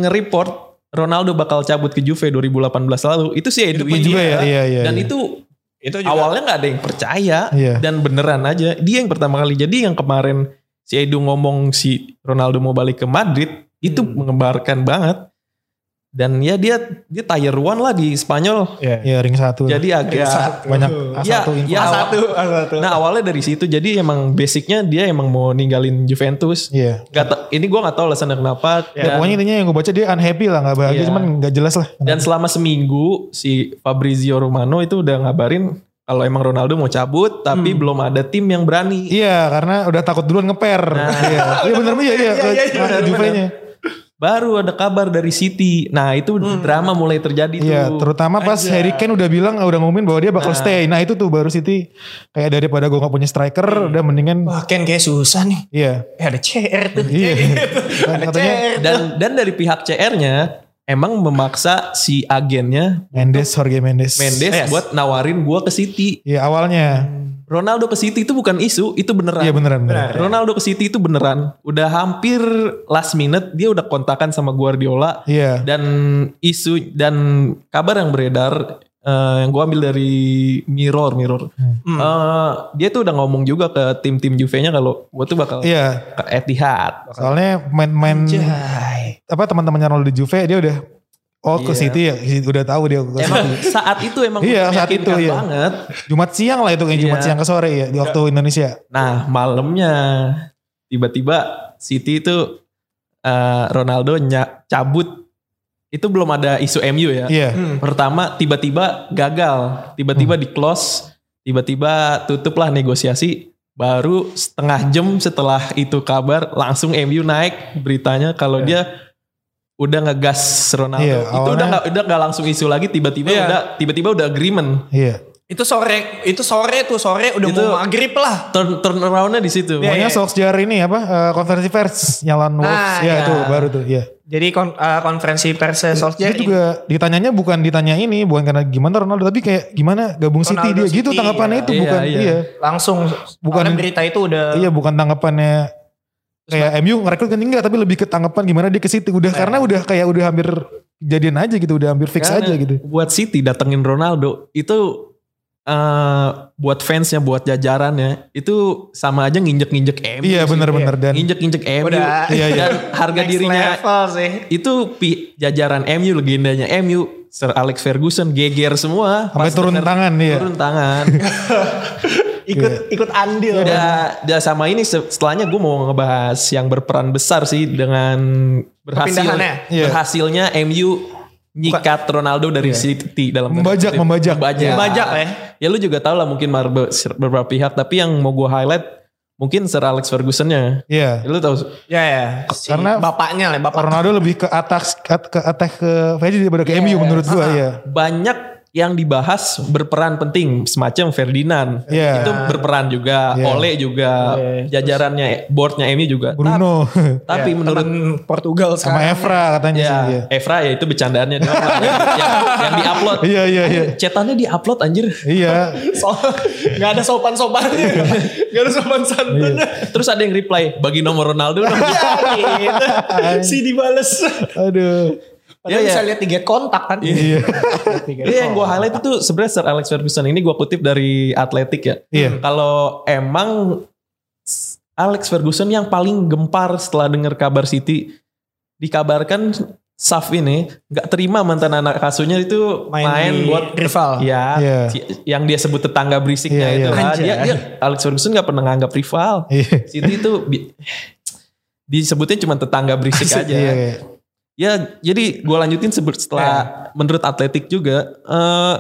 nge-report Ronaldo bakal cabut ke Juve 2018 lalu itu si Edu
Itu pun
ini
juga ya,
ya.
iya, iya,
dan
iya.
itu
itu juga
awalnya nggak ada yang percaya
Iya.
dan beneran aja dia yang pertama kali jadi yang kemarin si Edu ngomong si Ronaldo mau balik ke Madrid itu
Hmm.
mengembarkan banget dan ya dia dia tier one lah di Spanyol
ya.
ya ring satu
jadi agak ya,
banyak
Iya,
A1 info
iya.
satu satu
nah awalnya dari situ jadi emang basicnya dia emang mau ninggalin Juventus
Iya.
Gak ta- ini gua nggak tahu alasannya kenapa
Ya, pokoknya intinya yang gue baca dia unhappy lah nggak bahagia
Iya.
cuman nggak jelas lah.
Dan selama seminggu si Fabrizio Romano itu udah ngabarin kalau emang Ronaldo mau cabut tapi
Hmm.
belum ada tim yang berani.
Iya karena udah takut duluan ngeper. Iya Iya, bener iya iya.
Iya, iya, iya,
Ke- ke
bener,
Juve-nya.
Baru ada kabar dari City. Nah, itu drama mulai terjadi
Hmm. Iya
tuh.
terutama pas
Aja.
Harry Kane udah bilang udah ngumumin bahwa dia bakal stay. Nah itu tuh baru City kayak daripada gue nggak punya striker udah mendingan
wah Ken kayak susah nih
iya.
eh, ada CR tuh
Iya. Dan
ada
katanya
CR
Dan dan dari pihak CR-nya emang memaksa si agennya
Mendes Jorge Mendes.
Mendes Hmm.
Yes.
buat nawarin gua ke City.
Iya awalnya.
Ronaldo ke City itu bukan isu, itu beneran.
Iya beneran bener.
Benar.
Ronaldo ke City itu beneran. Udah hampir last minute dia udah kontakan sama Guardiola.
Iya.
dan isu dan kabar yang beredar eh, yang gua ambil dari Mirror Mirror
Hmm.
Eh, dia tuh udah ngomong juga ke tim-tim Juve-nya kalau gua tuh bakal
Iya.
ke Etihad
Soalnya main-main
Jai.
apa teman-temannya Ronaldo di Juve dia udah oh ke
Iya.
City ya udah tahu dia ke
emang saat itu emang
Iya, saat
meyakinkan
itu, iya.
banget
Jumat siang lah itu kayak Jumat
Iya.
siang ke sore ya di waktu Indonesia.
nah malamnya tiba-tiba City itu eh, Ronaldo nya- cabut itu belum ada isu MU ya
Iya.
Hmm.
pertama tiba-tiba gagal tiba-tiba
Hmm.
di close tiba-tiba tutuplah negosiasi baru setengah jam setelah itu kabar langsung MU naik beritanya kalau dia udah ngegas Ronaldo
Iya,
itu
awalnya-
udah nggak udah nggak langsung isu lagi tiba-tiba
Iya.
udah tiba-tiba udah agreement
Iya.
itu sore itu sore tuh sore udah
Itu-
mau maghrib lah
turn turn around-nya di situ
Iya,
Pokoknya
iya.
Solskjaer ini apa eh, konferensi pers yang lawan Wolves
Ah,
ya
iya.
itu baru tuh iya.
jadi kon- eh, konferensi pers
Dia
Solskjaer ini-
juga ditanyanya bukan ditanya ini bukan karena gimana Ronaldo tapi kayak gimana gabung City
Ronaldo
dia
City,
gitu tanggapannya
iya.
itu
Iya,
bukan
iya.
iya.
langsung
Bukan-
bukan berita itu udah
Iya bukan tanggapannya kayak MU ngerekrut kan enggak tapi lebih ke tanggapan gimana dia ke City
Iya.
udah karena udah kayak udah hampir jadian aja gitu udah hampir fix
Karena
aja
iya.
gitu.
buat City datengin Ronaldo itu eh buat fansnya buat jajarannya itu sama aja nginjek-nginjek MU
Iya
sih.
bener-bener dan
injek-injek MU
Udah.
Iya, iya.
dan harga
next
dirinya
level sih
itu pi- jajaran MU legendanya MU Sir Alex Ferguson geger semua Pas
sampai turun
denger-
tangan iya.
turun tangan
ikut ikut andil
udah udah sama ini se- setelahnya gue mau ngebahas yang berperan besar sih dengan berhasil
Perpindahannya?
Iya.
berhasilnya MU nyikat Ronaldo dari City dalam tanda
Membajak, Iya.
kutip.
membajak.
membajak
Membajak, ya.
ya lu juga tau lah mungkin marbe- ser- beberapa pihak tapi yang mau gue highlight mungkin Sir Alex Fergusonnya
Iya.
lu tau
ya ya Si
Karena-
bapaknya lah bapak
Ronaldo lebih ke atas ke attack ke Fedi daripada
Iya,
ke MU menurut gua
Ah.
ya.
banyak yang dibahas berperan penting semacam Ferdinand
Iya.
itu berperan juga
Iya.
Ole juga
iya.
jajarannya boardnya MU juga
Bruno
tapi menurut
temen Portugal
sama
sekarang
Evra katanya
ya,
ya, sih iya.
Evra ya itu bercandaannya doang lah, yang, yang, yang diupload
Iya iya iya.
cetannya diupload anjir
Iya.
so, nggak ada sopan sopannya nggak ya. ada sopan santunnya
terus ada yang reply bagi nomor Ronaldo dong."
Iya.
Ya, gitu. si dibales
Aduh.
padahal ya.
Iya, iya.
bisa lihat tiga kontak kan
Iya. oh.
Tiga
Iya yang gue highlight itu sebenarnya Sir Alex Ferguson ini gue kutip dari Atletik ya.
Iya.
Kalau emang S- Alex Ferguson yang paling gempar setelah dengar kabar City dikabarkan Saf ini nggak terima mantan anak kasunya itu
main,
main,
di
buat
rival
ya
Iya.
si- yang dia sebut tetangga berisiknya
Iya,
itu
iya.
lah.
Anjay.
Dia, dia Alex Ferguson nggak pernah nganggap rival.
Iya.
City itu bi- disebutnya cuma tetangga berisik aja.
Iya.
Ya, jadi gue lanjutin sebe- setelah menurut Atletik juga eh,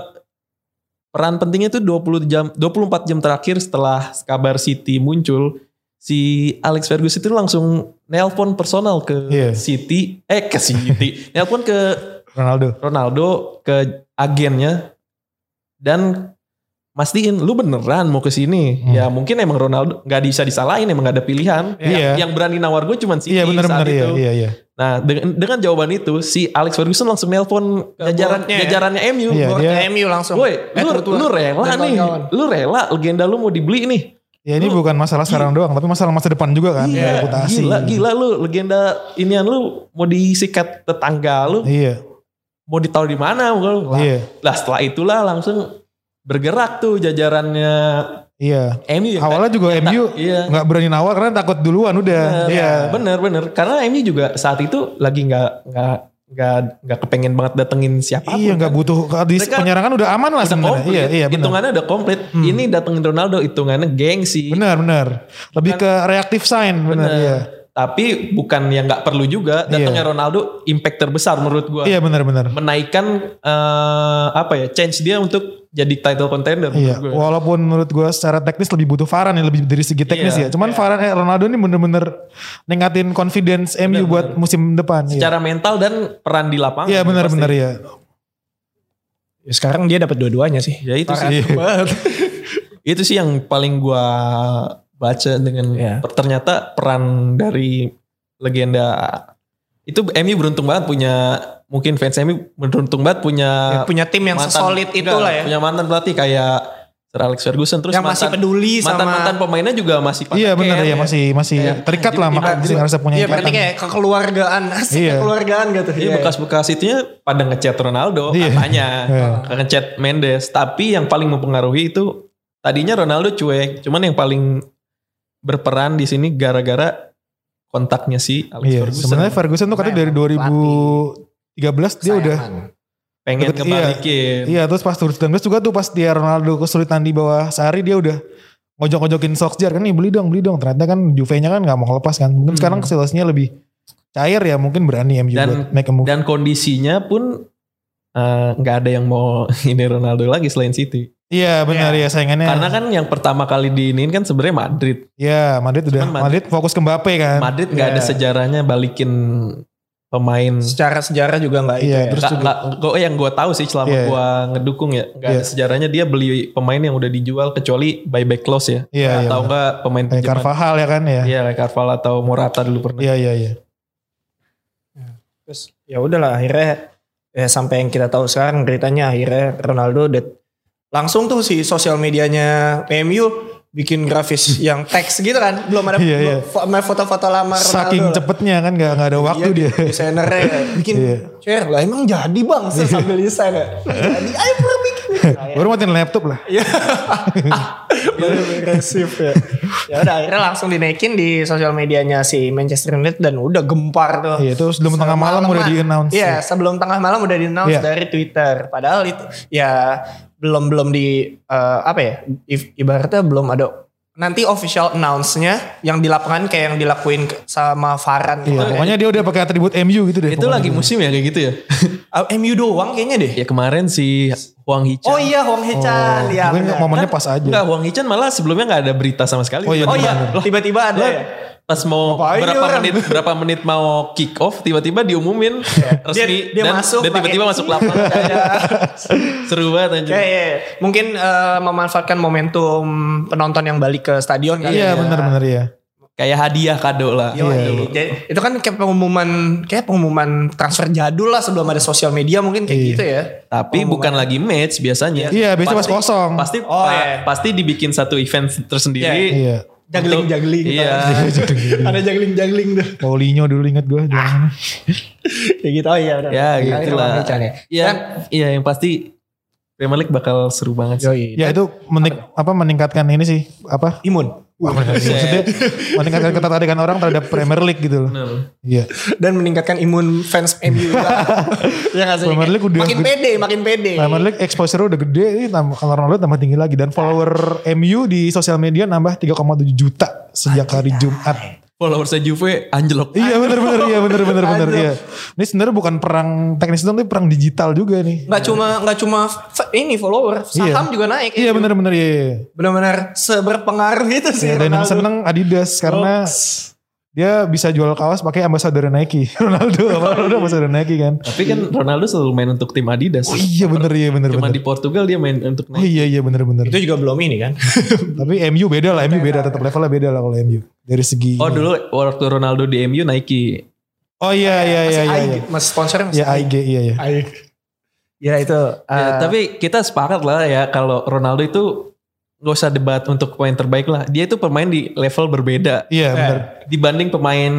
peran pentingnya itu 20 jam 24 jam terakhir setelah kabar City muncul si Alex Ferguson itu langsung nelpon personal ke
Iya.
City eh ke City nelpon ke
Ronaldo.
Ronaldo ke agennya dan mastiin lu beneran mau ke sini
Hmm.
ya mungkin emang Ronaldo nggak bisa disalahin emang nggak ada pilihan
Iya.
yang, yang berani nawar gue cuman City
Iya
saat
benar-benar iya
itu
iya iya.
Nah dengan, dengan jawaban itu si Alex Ferguson langsung nelpon
Ke
jajaran
boardnya ya?
jajarannya MU.
Iya,
Buat
dia-
MU langsung
Woi,
Eh,
lu,
tertua.
lu rela
Dan
nih,
kawan-kawan.
lu rela legenda lu mau dibeli nih.
Ya ini bukan masalah sekarang doang, tapi masalah masa depan juga kan, ya,
Iya,
reputasi.
gila, gila lu legenda inian lu mau disikat tetangga lu,
Iya,
mau ditaruh di mana? Lah,
iya,
lah setelah itulah langsung bergerak tuh jajarannya
iya.
MU ya.
Awalnya juga
Tak-
MU
iya.
nggak berani nawar karena takut duluan udah.
Bener,
Iya.
bener, bener. Karena MU juga saat itu lagi nggak nggak nggak nggak kepengen banget datengin siapa
Iya nggak butuh kalau di
kan? Mereka
penyerangan udah aman lah sebenarnya. Iya, iya benar. Hmm.
Hitungannya udah komplit. Ini datengin Ronaldo hitungannya gengsi.
Benar, benar. Lebih
Kan?
ke reaktif sign benar, iya.
Tapi bukan yang nggak perlu juga datangnya Ronaldo impact terbesar menurut gua.
Iya benar benar.
Menaikkan eh, apa ya? Change dia untuk jadi title contender
Iya,
menurut gua. ya.
walaupun menurut gue secara teknis lebih butuh Varane ya lebih dari segi teknis
Iya,
ya. Cuman Varane eh, Ronaldo ini bener-bener ningkatin confidence MU buat musim depan. Iya,
Secara mental dan peran di lapangan.
iya
pasti.
benar-benar ya.
Ya, sekarang dia dapat dua-duanya sih.
Ya itu sih. itu sih yang paling gua baca dengan
Iya.
ternyata peran dari legenda itu MU beruntung banget punya mungkin fans MU beruntung banget punya
Ya, punya tim yang
mantan-
sesolid
enggak,
itulah ya.
Punya mantan pelatih kayak Sir Alex Ferguson terus
yang masih peduli
mantan,
sama
mantan pemainnya juga masih pada
Iya benar
care
ya masih masih
Iya.
terikat lah
Jadi,
makanya
iya,
sih harusnya punya
Iya,
ikatan.
berarti kayak kekeluargaan, asik
kan? Iya.
kekeluargaan gitu.
Iya bekas-bekas itunya pada ngechat Ronaldo
Iya.
katanya,
Iya.
ngechat Mendes. Tapi yang paling mempengaruhi itu tadinya Ronaldo cuek, cuman yang paling berperan di sini gara-gara kontaknya si Alex
Iya,
Ferguson.
sebenarnya Ferguson tuh katanya dari
Memang
2013 dia udah
pengen
deket- iya.
ngebalikin.
Iya terus pas 2019 juga tuh pas dia Ronaldo kesulitan di bawah sehari dia udah ngojok-ngojokin Solskjaer kan nih beli dong beli dong ternyata kan Juve-nya kan nggak mau lepas kan mungkin
Hmm.
sekarang situasinya lebih cair ya mungkin berani MU
Dan-
buat make a move
Dan kondisinya pun eh, nggak ada yang mau ini Ronaldo lagi selain City.
iya benar ya saingannya
Karena kan yang pertama kali diinin kan sebenarnya Madrid.
ya Madrid udah
Cuman
Madrid, fokus ke Mbappe kan
Madrid nggak
Iya.
ada sejarahnya balikin pemain
Secara sejarah juga nggak itu.
iya
ya.
terus
Nggak-
juga-
nggak- gua- yang gue tahu sih selama
Iya.
gua ngedukung ya nggak ada
Iya.
sejarahnya dia beli pemain yang udah dijual kecuali buyback clause ya
iya iya
atau enggak pemain
kayak
pinjaman.
Carvajal ya kan ya
Iya, kayak Carvalho atau Morata dulu pernah.
iya iya iya
Terus ya udahlah akhirnya ya sampai yang kita tahu sekarang beritanya akhirnya Ronaldo udah langsung tuh si sosial medianya PMU bikin grafis yang teks gitu kan belum ada
Iya, iya.
fo- foto-foto lama Ronaldo
saking
lah.
cepetnya kan nggak nggak ada waktu
Iya,
dia
desainernya bikin
Iya.
share lah emang jadi bang sambil desain ya jadi ayo bro bikin
baru matiin laptop lah
ya baru agresif ya ya udah akhirnya langsung dinaikin di sosial medianya si Manchester United dan udah gempar tuh
iya terus sebelum tengah malam udah di announce
Iya, sebelum tengah malam udah di announce
Iya.
dari Twitter. Padahal itu ya belum belum di eh, apa ya? if- ibaratnya belum ada nanti official announce-nya yang di lapangan kayak yang dilakuin ke- sama Farhan.
Iya,
gitu.
pokoknya dia udah pakai atribut MU gitu deh
Itu
pokoknya.
lagi musim ya kayak gitu ya.
Ah, MU doang kayaknya deh.
ya kemarin si Huang Hichan.
Oh iya, Hong Hechan
Oh,
ya.
mungkin
benar.
momennya
Kan
pas aja
Enggak, Huang Hichan malah sebelumnya nggak ada berita sama sekali.
Oh iya,
Oh iya,
Benar.
Loh,
tiba-tiba ada
Lah,
ya.
pas mau
Ngapain
berapa
orang?
menit berapa menit mau kick off tiba-tiba diumumin
Iya.
resmi
Dia- dia
dan,
masuk
dan tiba-tiba
pakai- Iya.
masuk lapangan seru banget anjir
Ya, ya, ya. Mungkin eh, memanfaatkan momentum penonton yang balik ke stadion kali
Iya
ya.
benar-benar ya.
kayak hadiah kado lah Iya.
Yoi.
iya.
Jadi, itu kan kayak pengumuman kayak pengumuman transfer jadul lah sebelum ada sosial media mungkin kayak
Iya.
gitu ya.
Tapi
Pengumuman.
bukan lagi match biasanya.
Iya biasanya pas kosong.
Pasti
Oh,
pa-
iya.
pasti dibikin satu event tersendiri.
Iya.
Jagling-jagling. gitu.
Iya.
ada jagling-jagling tuh.
Paulinho dulu inget gue. Ah.
kayak gitu. Oh iya udah.
Ya,
Akhirnya
gitu lah.
Bang Ican ya.
Iya,
Dan-
iya yang pasti Premier League bakal seru banget sih.
Yoi.
Ya itu menik, apa meningkatkan ini sih apa?
Imun.
Wah, Maksudnya meningkatkan ketertarikan orang terhadap Premier League gitu loh.
Bener.
Iya.
Dan meningkatkan imun fans MU juga. ya gak sih?
Premier League udah-
makin pede, makin pede.
Premier League exposure udah gede ini tambah- kalau Ronaldo tambah tinggi lagi dan follower MU di sosial media nambah 3,7 juta sejak hari Jumat.
Followersnya Juve anjlok.
Iya benar-benar iya benar-benar benar iya. Ini sebenarnya bukan perang teknis dong, tapi perang digital juga nih.
Gak cuma nggak cuma f- ini follower, saham juga naik.
Iya benar-benar iya. iya.
Benar-benar seberpengaruh itu sih.
Ya, dan yang
Ronaldo.
seneng Adidas karena dia bisa jual kaos pakai ambassador Nike. Ronaldo, Ronaldo ambassador Nike kan.
Tapi kan Ronaldo selalu main untuk tim Adidas.
Oh iya bener iya bener
Cuma
bener.
di Portugal dia main untuk
Oh iya iya bener bener.
Itu juga belum ini kan.
Tapi MU beda lah, MU beda tetap levelnya beda lah kalau MU dari segi.
Oh dulu waktu Ronaldo di MU Nike.
Oh iya iya iya iya.
AIG, Mas sponsornya
Ya
masih
IG iya iya.
AIG. Ya itu.
Iya,
Eh,
eh, Ya, tapi kita sepakat lah ya kalau Ronaldo itu nggak usah debat untuk pemain terbaik lah. Dia itu pemain di level berbeda
Iya benar.
dibanding pemain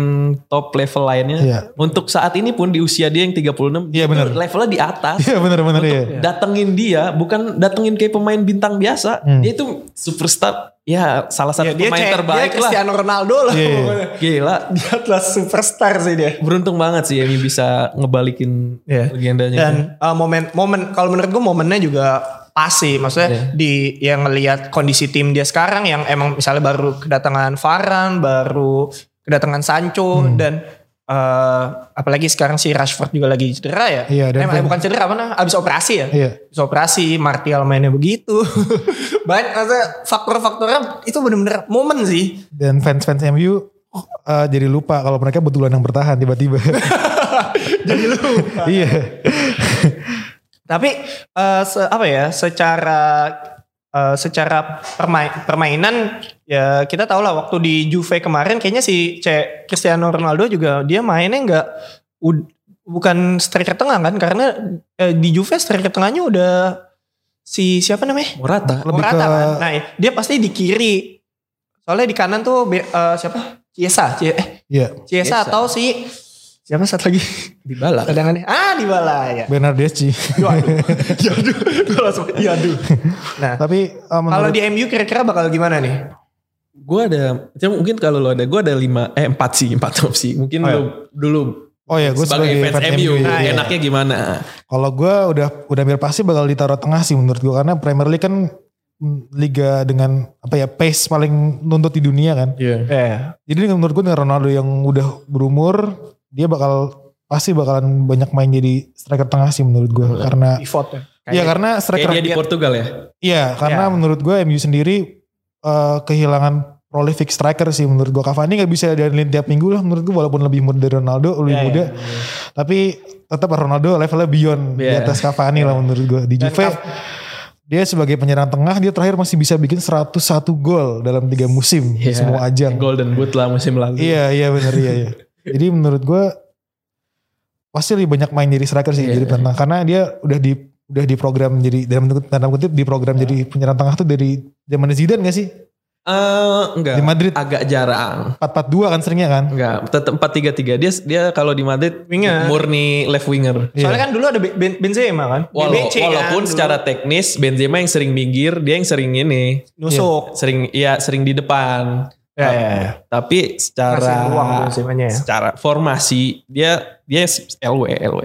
top level lainnya.
Iya.
Untuk saat ini pun di usia dia yang 36,
Iya,
itu
benar.
levelnya di atas.
Iya benar-benar iya.
Datengin dia bukan datengin kayak pemain bintang biasa.
Hmm.
Dia itu superstar. Ya, salah
Ya,
satu
dia
pemain
cek-
terbaik
dia
lah.
Cristiano Ronaldo lah.
Iya.
pokoknya.
Gila,
Dia adalah superstar sih dia.
beruntung banget sih Emi bisa ngebalikin
Iya.
legendanya.
Dan uh, momen momen kalau menurut gue momennya juga pas sih
Iya.
maksudnya di yang ngelihat kondisi tim dia sekarang yang emang misalnya baru kedatangan Varane, baru kedatangan Sancho
Hmm.
dan eh, apalagi sekarang si Rashford juga lagi cedera ya.
Iya, dan-
Emang- eh, bukan cedera apa nah? Abis operasi ya.
Iya.
Abis operasi Martial mainnya begitu. Banyak maksudnya faktor-faktornya itu bener-bener momen sih.
Dan fans-fans MU eh, jadi lupa kalau mereka betulan yang bertahan tiba-tiba.
Jadi lu
iya.
Tapi eh, se- apa ya secara eh, secara perma- permainan ya kita tahu lah waktu di Juve kemarin kayaknya si C Cristiano Ronaldo juga dia mainnya nggak ud- bukan striker tengah kan karena eh, di Juve striker tengahnya udah si siapa namanya?
Morata.
Lebih
Morata
ke-
kan. Nah, dia pasti di kiri. Soalnya di kanan tuh be- eh, siapa? Ciesa, Cie- eh,
Iya.
Ciesa
Chiesa.
atau si siapa satu lagi?
Dybala.
Cadangannya. Ah, di ya.
Bernardeschi.
Yaduh, yaduh, gue langsung yaduh. Nah,
Tapi eh,
kalau
Iya, menurut
di MU kira-kira bakal gimana nih?
Gue ada, macam mungkin kalau lo ada, gue ada lima, eh empat sih, empat opsi. Mungkin
Oh, iya.
lo dulu
Oh ya, gue
sebagai, fans, MU,
Ah, iya.
enaknya gimana?
Kalau gue udah udah hampir pasti bakal ditaruh tengah sih menurut gue karena Premier League kan mm, liga dengan apa ya pace paling nuntut di dunia kan.
Eh,
Jadi dengan- menurut gue dengan Ronaldo yang udah berumur dia bakal pasti bakalan banyak main jadi striker tengah sih menurut gue karena
pivot ya.
Iya karena
Kayak
striker
dia di Portugal ya?
Iya,
Ya.
karena menurut gue MU sendiri eh, kehilangan prolific striker sih menurut gue. Cavani nggak bisa diandelin tiap minggu lah menurut gue walaupun lebih muda dari Ronaldo,
Iya,
lebih
Ya,
muda.
ya.
Tapi tetap Ronaldo levelnya beyond di
Iya.
atas Cavani lah menurut gue. Di
Dan
Juve
Cav-
dia sebagai penyerang tengah dia terakhir masih bisa bikin 101 gol dalam tiga musim di
Iya.
semua ajang.
Golden Boot lah musim lalu.
Iya iya benar iya iya. Jadi menurut gue pasti lebih banyak main jadi striker sih
Iya.
jadi penyerang tengah. karena dia udah di udah di program jadi dalam tanda kutip di program jadi penyerang tengah tuh dari zaman Zidane gak sih?
Eh, enggak,
Di Madrid
agak jarang.
4-4-2 kan seringnya kan?
Enggak, tetap 4-3-3. Dia dia kalau di Madrid
Winger.
murni left winger.
Iya.
Soalnya kan dulu ada Be- Ben- Benzema kan.
Walau-
BBC kan
walaupun
dulu.
secara teknis Benzema yang sering minggir, dia yang sering ini,
nusuk.
sering ya sering di depan.
Iya.
Ya, ya, ya.
Tapi
Masih
secara
ruang Benzemanya ya.
secara formasi dia dia LW LW.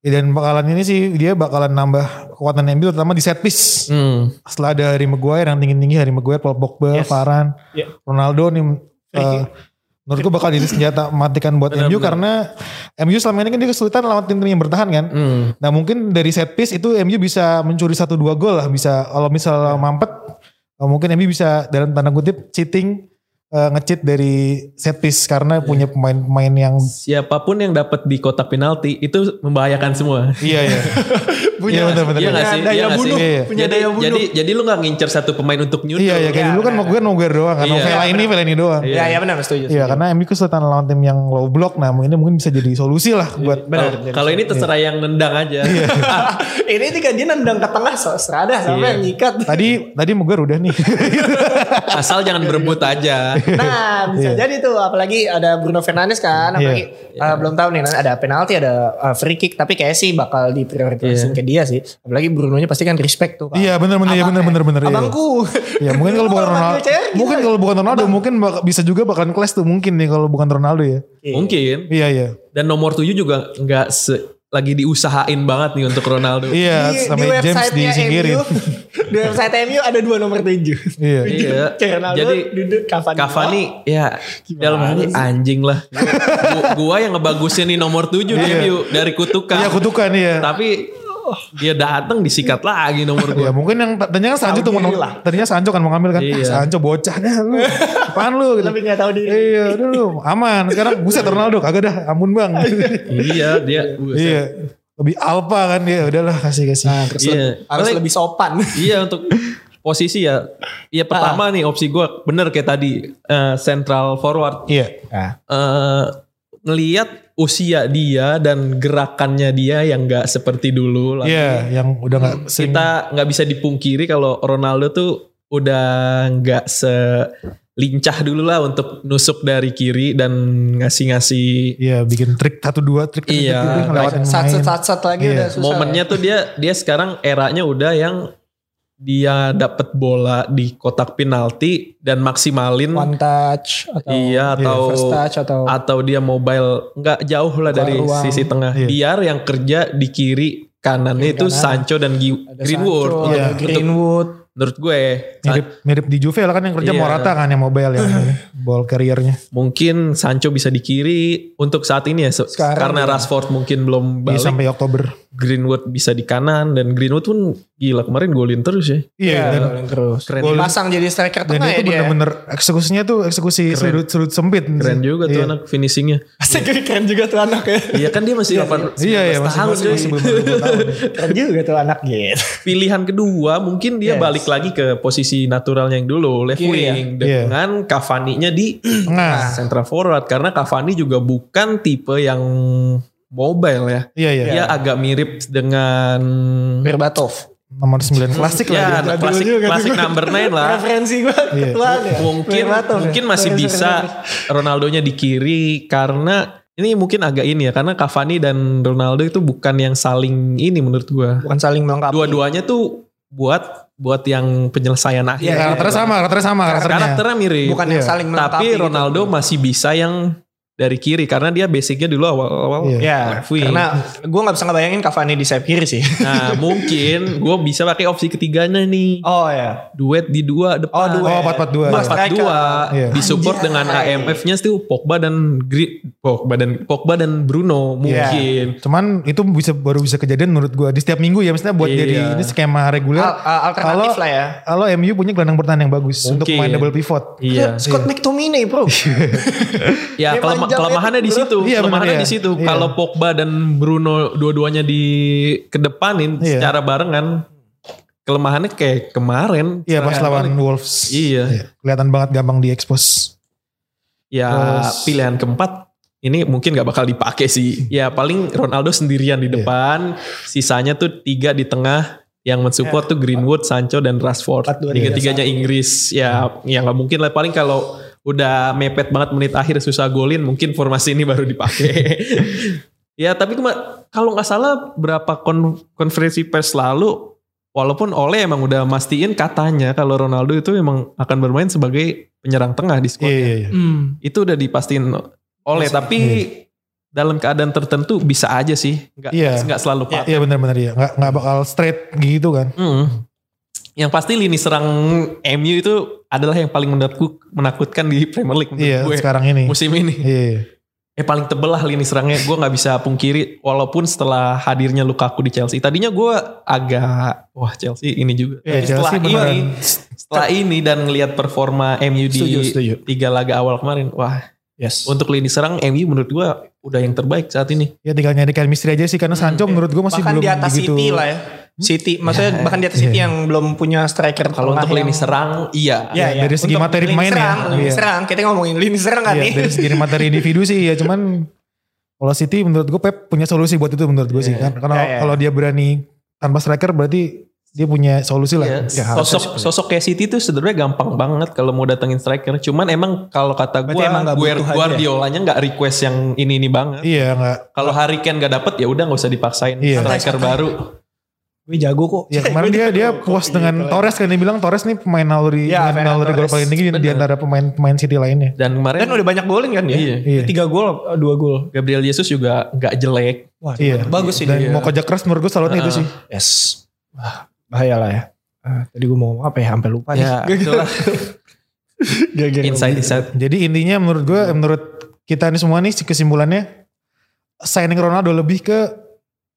Ya, dan bakalan ini sih dia bakalan nambah kekuatan MU terutama di set piece.
Hmm.
Setelah ada Harry Maguire yang tinggi-tinggi Harry Maguire, Paul Pogba,
Yes.
Varane,
Iya.
Ronaldo nih
Ricky.
eh, menurut gue bakal jadi senjata matikan buat
Benar,
MU
benar.
karena MU selama ini kan dia kesulitan lawan tim-tim yang bertahan kan.
Hmm.
Nah mungkin dari set piece itu MU bisa mencuri satu dua gol lah bisa kalau misal mampet eh, mungkin MU bisa dalam tanda kutip cheating eh, ngecit dari set piece karena punya pemain-pemain yang
Siapapun yang dapat di kotak penalti itu membahayakan semua.
iya iya
Punya,
Iya, benar, benar.
punya
Iya nggak sih?
daya
Iya nggak sih?
bunuh.
Iya, iya.
Punya
jadi,
daya bunuh.
jadi jadi lu nggak ngincer satu pemain untuk nyundul.
iya iya kayak
Iya,
dulu kan mau gue mau gue doang kan mau
Iya.
Vela ini Vela ini doang
ya, ya benar setuju.
iya
setuju.
karena MU kesulitan lawan tim yang low block nah mungkin mungkin bisa jadi solusi lah
Kalau-
buat
Benar, benar.
Kalau ini
Iya.
terserah yang nendang aja.
ini tiga dia nendang ke tengah so- serada sampai
Iya.
yang nyikat.
tadi tadi mau gue udah nih
Asal
Iya,
jangan berebut aja.
Nah, bisa jadi tuh apalagi ada Bruno Fernandes kan,
Iya.
apalagi eh, belum tahu nih nanti ada penalti, ada eh, free kick, tapi kayak sih bakal diprioritaskan ke dia sih. Apalagi Brunonya pasti kan respect tuh. Pak.
iya benar benar iya
Abang-
bener benar benar iya.
Abangku.
Ya mungkin kalau bukan
Kalau
Ronaldo,
manggil cewek,
mungkin
gila.
kalau bukan Ronaldo, mungkin bak- bisa juga bakalan clash tuh mungkin nih kalau bukan Ronaldo ya.
Mungkin.
Iya iya.
Dan nomor 7 juga nggak se- lagi diusahain banget nih untuk Ronaldo.
Iya, sama James
website-nya
disingkirin.
MU, di website MU ada dua nomor tujuh.
Iya.
Iya.
Kayak Ronaldo
Jadi
duduk Cavani.
Cavani ya dalam hati
sih?
anjing lah. Gu- gua yang ngebagusin nih nomor 7 di
Iya.
MU dari kutukan.
Iya kutukan iya.
Tapi dia datang disikat lagi nomor gua.
Ya mungkin yang tadinya kan Sancho tuh mau
diri lah.
tadinya Sancho kan mau ngambil kan.
Iya.
Sancho bocah dah lu. Apaan lu gitu.
Lebih Oh, nggak tahu diri.
Iya, udah lu aman. Sekarang buset Ronaldo kagak dah, ampun Bang.
iya, dia buset.
iya. Lebih alpha kan dia, udahlah kasih kasih.
Harus,
Iya.
lebih, harus
Paling-
lebih sopan.
Iya untuk posisi ya. Iya pertama nih opsi gue bener kayak tadi eh, central forward
Iya.
eh ngelihat usia dia dan gerakannya dia yang nggak seperti dulu lah.
Iya, yang udah nggak sering
Kita nggak bisa dipungkiri kalau Ronaldo tuh udah nggak selincah dulu lah untuk nusuk dari kiri dan ngasih-ngasih
Iya bikin trik satu dua trik trik,
Iya,
trik, trik, ngelewatin
sat
pemain.
sat sat, sat lagi
Iya.
udah susah.
momennya tuh dia dia sekarang eranya udah yang dia dapat bola di kotak penalti dan maksimalin
one touch atau
iya atau
first touch atau
atau dia mobile nggak jauh lah
Buka
dari
ruang.
sisi tengah
Iya.
biar yang kerja di kiri kanannya
Kiri
itu
kanan.
Sancho dan Gi-
ada
Greenwood
Sancho,
Untuk-
ada
Iya.
untuk-
Greenwood.
menurut gue
mirip mirip di Juve lah kan yang kerja
Iya.
Morata kan yang mobile ya ball carriernya Iya,
mungkin Sancho bisa di kiri untuk saat ini ya se-
Sekarang
karena
iya.
Rashford mungkin belum
Iya,
balik
sampai Oktober.
Greenwood bisa di kanan dan Greenwood pun gila kemarin golin terus ya
Iya,
Iya,
dan,
golin terus.
keren
Golin.
Pasang jadi striker
dan
tengah ya
itu
dia.
bener-bener eksekusinya tuh eksekusi
Keren.
sudut-sudut sempit.
keren juga tuh
Iya.
anak finishingnya
Pasti keren juga tuh anak ya.
iya kan dia masih 8
Iya, iya,
19
masih,
tahun
masih,
cuy.
masih belum belum tahun.
Keren juga tuh anak gitu.
pilihan kedua mungkin dia
Yes.
balik lagi ke posisi naturalnya yang dulu left
Kiri ya?
wing
Iya. Ah.
dengan Cavani-nya di
Tengah.
central forward karena Cavani juga bukan tipe yang mobile ya.
Iya, iya.
Dia agak mirip dengan
Berbatov.
Nomor 9 klasik lah.
ya, nah,
dia.
Dulu
klasik
juga tuh
klasik
gua.
number 9 lah.
Referensi gue
Iya.
ketuaan ya.
mungkin
Berbatov ya.
mungkin masih
Sorry,
bisa
sorry, sorry.
Ronaldonya di kiri karena ini mungkin agak ini ya karena Cavani dan Ronaldo itu bukan yang saling ini menurut gua.
Bukan saling melengkapi.
Dua-duanya tuh buat buat yang penyelesaian
Iya,
Ya,
akhir.
karakternya sama, karakternya sama karakternya.
Karakternya mirip.
Bukan yang
Iya.
saling melengkapi.
tapi
gitu.
Ronaldo masih bisa yang dari kiri karena dia basicnya dulu awal-awal
Iya.
Ya,
left wing.
karena gue gak bisa ngebayangin Cavani di sayap kiri sih.
Nah mungkin gue bisa pakai opsi ketiganya nih
Oh ya.
duet di
Oh,
dua depan.
duet.
iya. Oh, 4-4-2.
Mas-
Empat dua
Iya.
disupport
Anjay.
dengan AMF-nya tuh Pogba dan Gri, Pogba dan Pogba
Iya.
dan Bruno mungkin.
Cuman itu bisa baru bisa kejadian menurut gua di setiap minggu ya maksudnya buat
Iya.
jadi ini skema
Al-
reguler.
al- alternatif
Iya. Kalau-
lah ya.
Kalau MU punya gelandang pertahanan yang bagus untuk
Mungkin.
main double pivot.
Iya.
Scott McTominay bro. Dia
Ya kelema-
panjang
kelemahannya di
lebar,
situ.
bro. Iya, benar,
kelemahannya
iya.
di situ.
Iya.
Kalau Pogba dan Bruno dua-duanya di kedepanin
Iya.
secara barengan, kelemahannya kayak kemarin.
Iya, pas
serangan
lawan
balik.
Wolves.
Iya.
Kelihatan banget gampang diekspos.
Ya
Terus-
pilihan keempat ini mungkin gak bakal dipakai sih. Ya paling Ronaldo sendirian di
Iya.
depan, sisanya tuh tiga di tengah yang mensupport tuh Greenwood, Sancho dan Rashford.
Empat, dua, tiga,
Tiga-tiganya Inggris. Ya ya nggak mungkin lah paling kalau udah mepet banget menit akhir susah golin mungkin formasi ini baru dipakai. ya tapi kema- kalau nggak salah berapa kon- konferensi pers lalu walaupun Ole emang udah mastiin katanya kalau Ronaldo itu emang akan bermain sebagai penyerang tengah di
Iya,
squad
iya, iya.
Hmm.
itu udah dipastiin oleh tapi dalam keadaan tertentu bisa aja sih nggak
Hmm. Iya.
nggak selalu
Iya.
patah
Iya benar-benar ya. Nggak nggak bakal straight gitu kan.
Mm. yang pasti lini serang MU itu adalah yang paling menurutku menakutkan di Premier League menurut
Iya
gue
sekarang ini.
musim ini
Iya. iya.
eh paling tebel lah lini serangnya gue nggak bisa pungkiri walaupun setelah hadirnya Lukaku di Chelsea tadinya gue agak wah Chelsea ini juga
Iya,
Tapi
Chelsea
setelah
beneran.
ini setelah ini dan ngelihat performa MU di
Setuju, setuju.
tiga laga awal kemarin wah
Yes.
untuk lini serang MU menurut gua udah yang terbaik saat ini.
Ya tinggal nyari chemistry aja sih karena Sancho
Hmm,
Iya, menurut gue
iya.
masih
bahkan
belum
di atas
begitu. Hmm?
City lah ya. City, maksudnya bahkan di atas
Iya.
City yang belum punya striker
Kalau
tengah
untuk lini
yang-
serang iya.
Ya,
Ya,
ya.
dari segi
Untuk lini
materi pemain ya.
serang, Lini
Iya.
serang, kita ngomongin lini serang kan
Iya,
nih.
dari segi materi individu sih ya cuman kalau City menurut gue Pep punya solusi buat itu menurut gue sih kan. Karena
Iya, iya.
kalau dia berani tanpa striker berarti dia punya solusi lah.
Iya.
Ya, harusnya
Sosok
sih.
sosok kayak City tuh sebenarnya gampang banget kalau mau datengin striker. Cuman emang kalau kata
Berarti
gua
emang nggak
Guer-
butuh aja.
Guardiolanya nggak request yang ini ini banget.
Iya nggak.
Kalau Harry Kane nggak dapet ya udah nggak usah dipaksain
Iya.
striker
Santai-santai.
baru.
Gue jago kok.
Ya kemarin dia dia puas dengan Torres kan dia bilang Torres nih pemain naluri
Iya,
dengan
Fernando
naluri gol
Torres.
paling tinggi di- di
Bener.
antara pemain-pemain City lainnya.
Dan kemarin
Dan udah banyak golin kan ya.
Iya.
Iya.
Tiga gol, eh, dua gol.
Gabriel Jesus juga nggak jelek.
Wah,
Iya.
bagus sih
Dan
dia.
mau kerja keras menurut gue salutnya itu
Heeh.
sih.
Yes. Wah, bahaya lah ya.
Eh,
Ah, tadi gue mau ngomong apa ya, sampai lupa
Ya,
nih.
itulah
Gara-gara-
insight insight.
Jadi intinya menurut gue,
Hmm.
menurut kita ini semua nih kesimpulannya signing Ronaldo lebih ke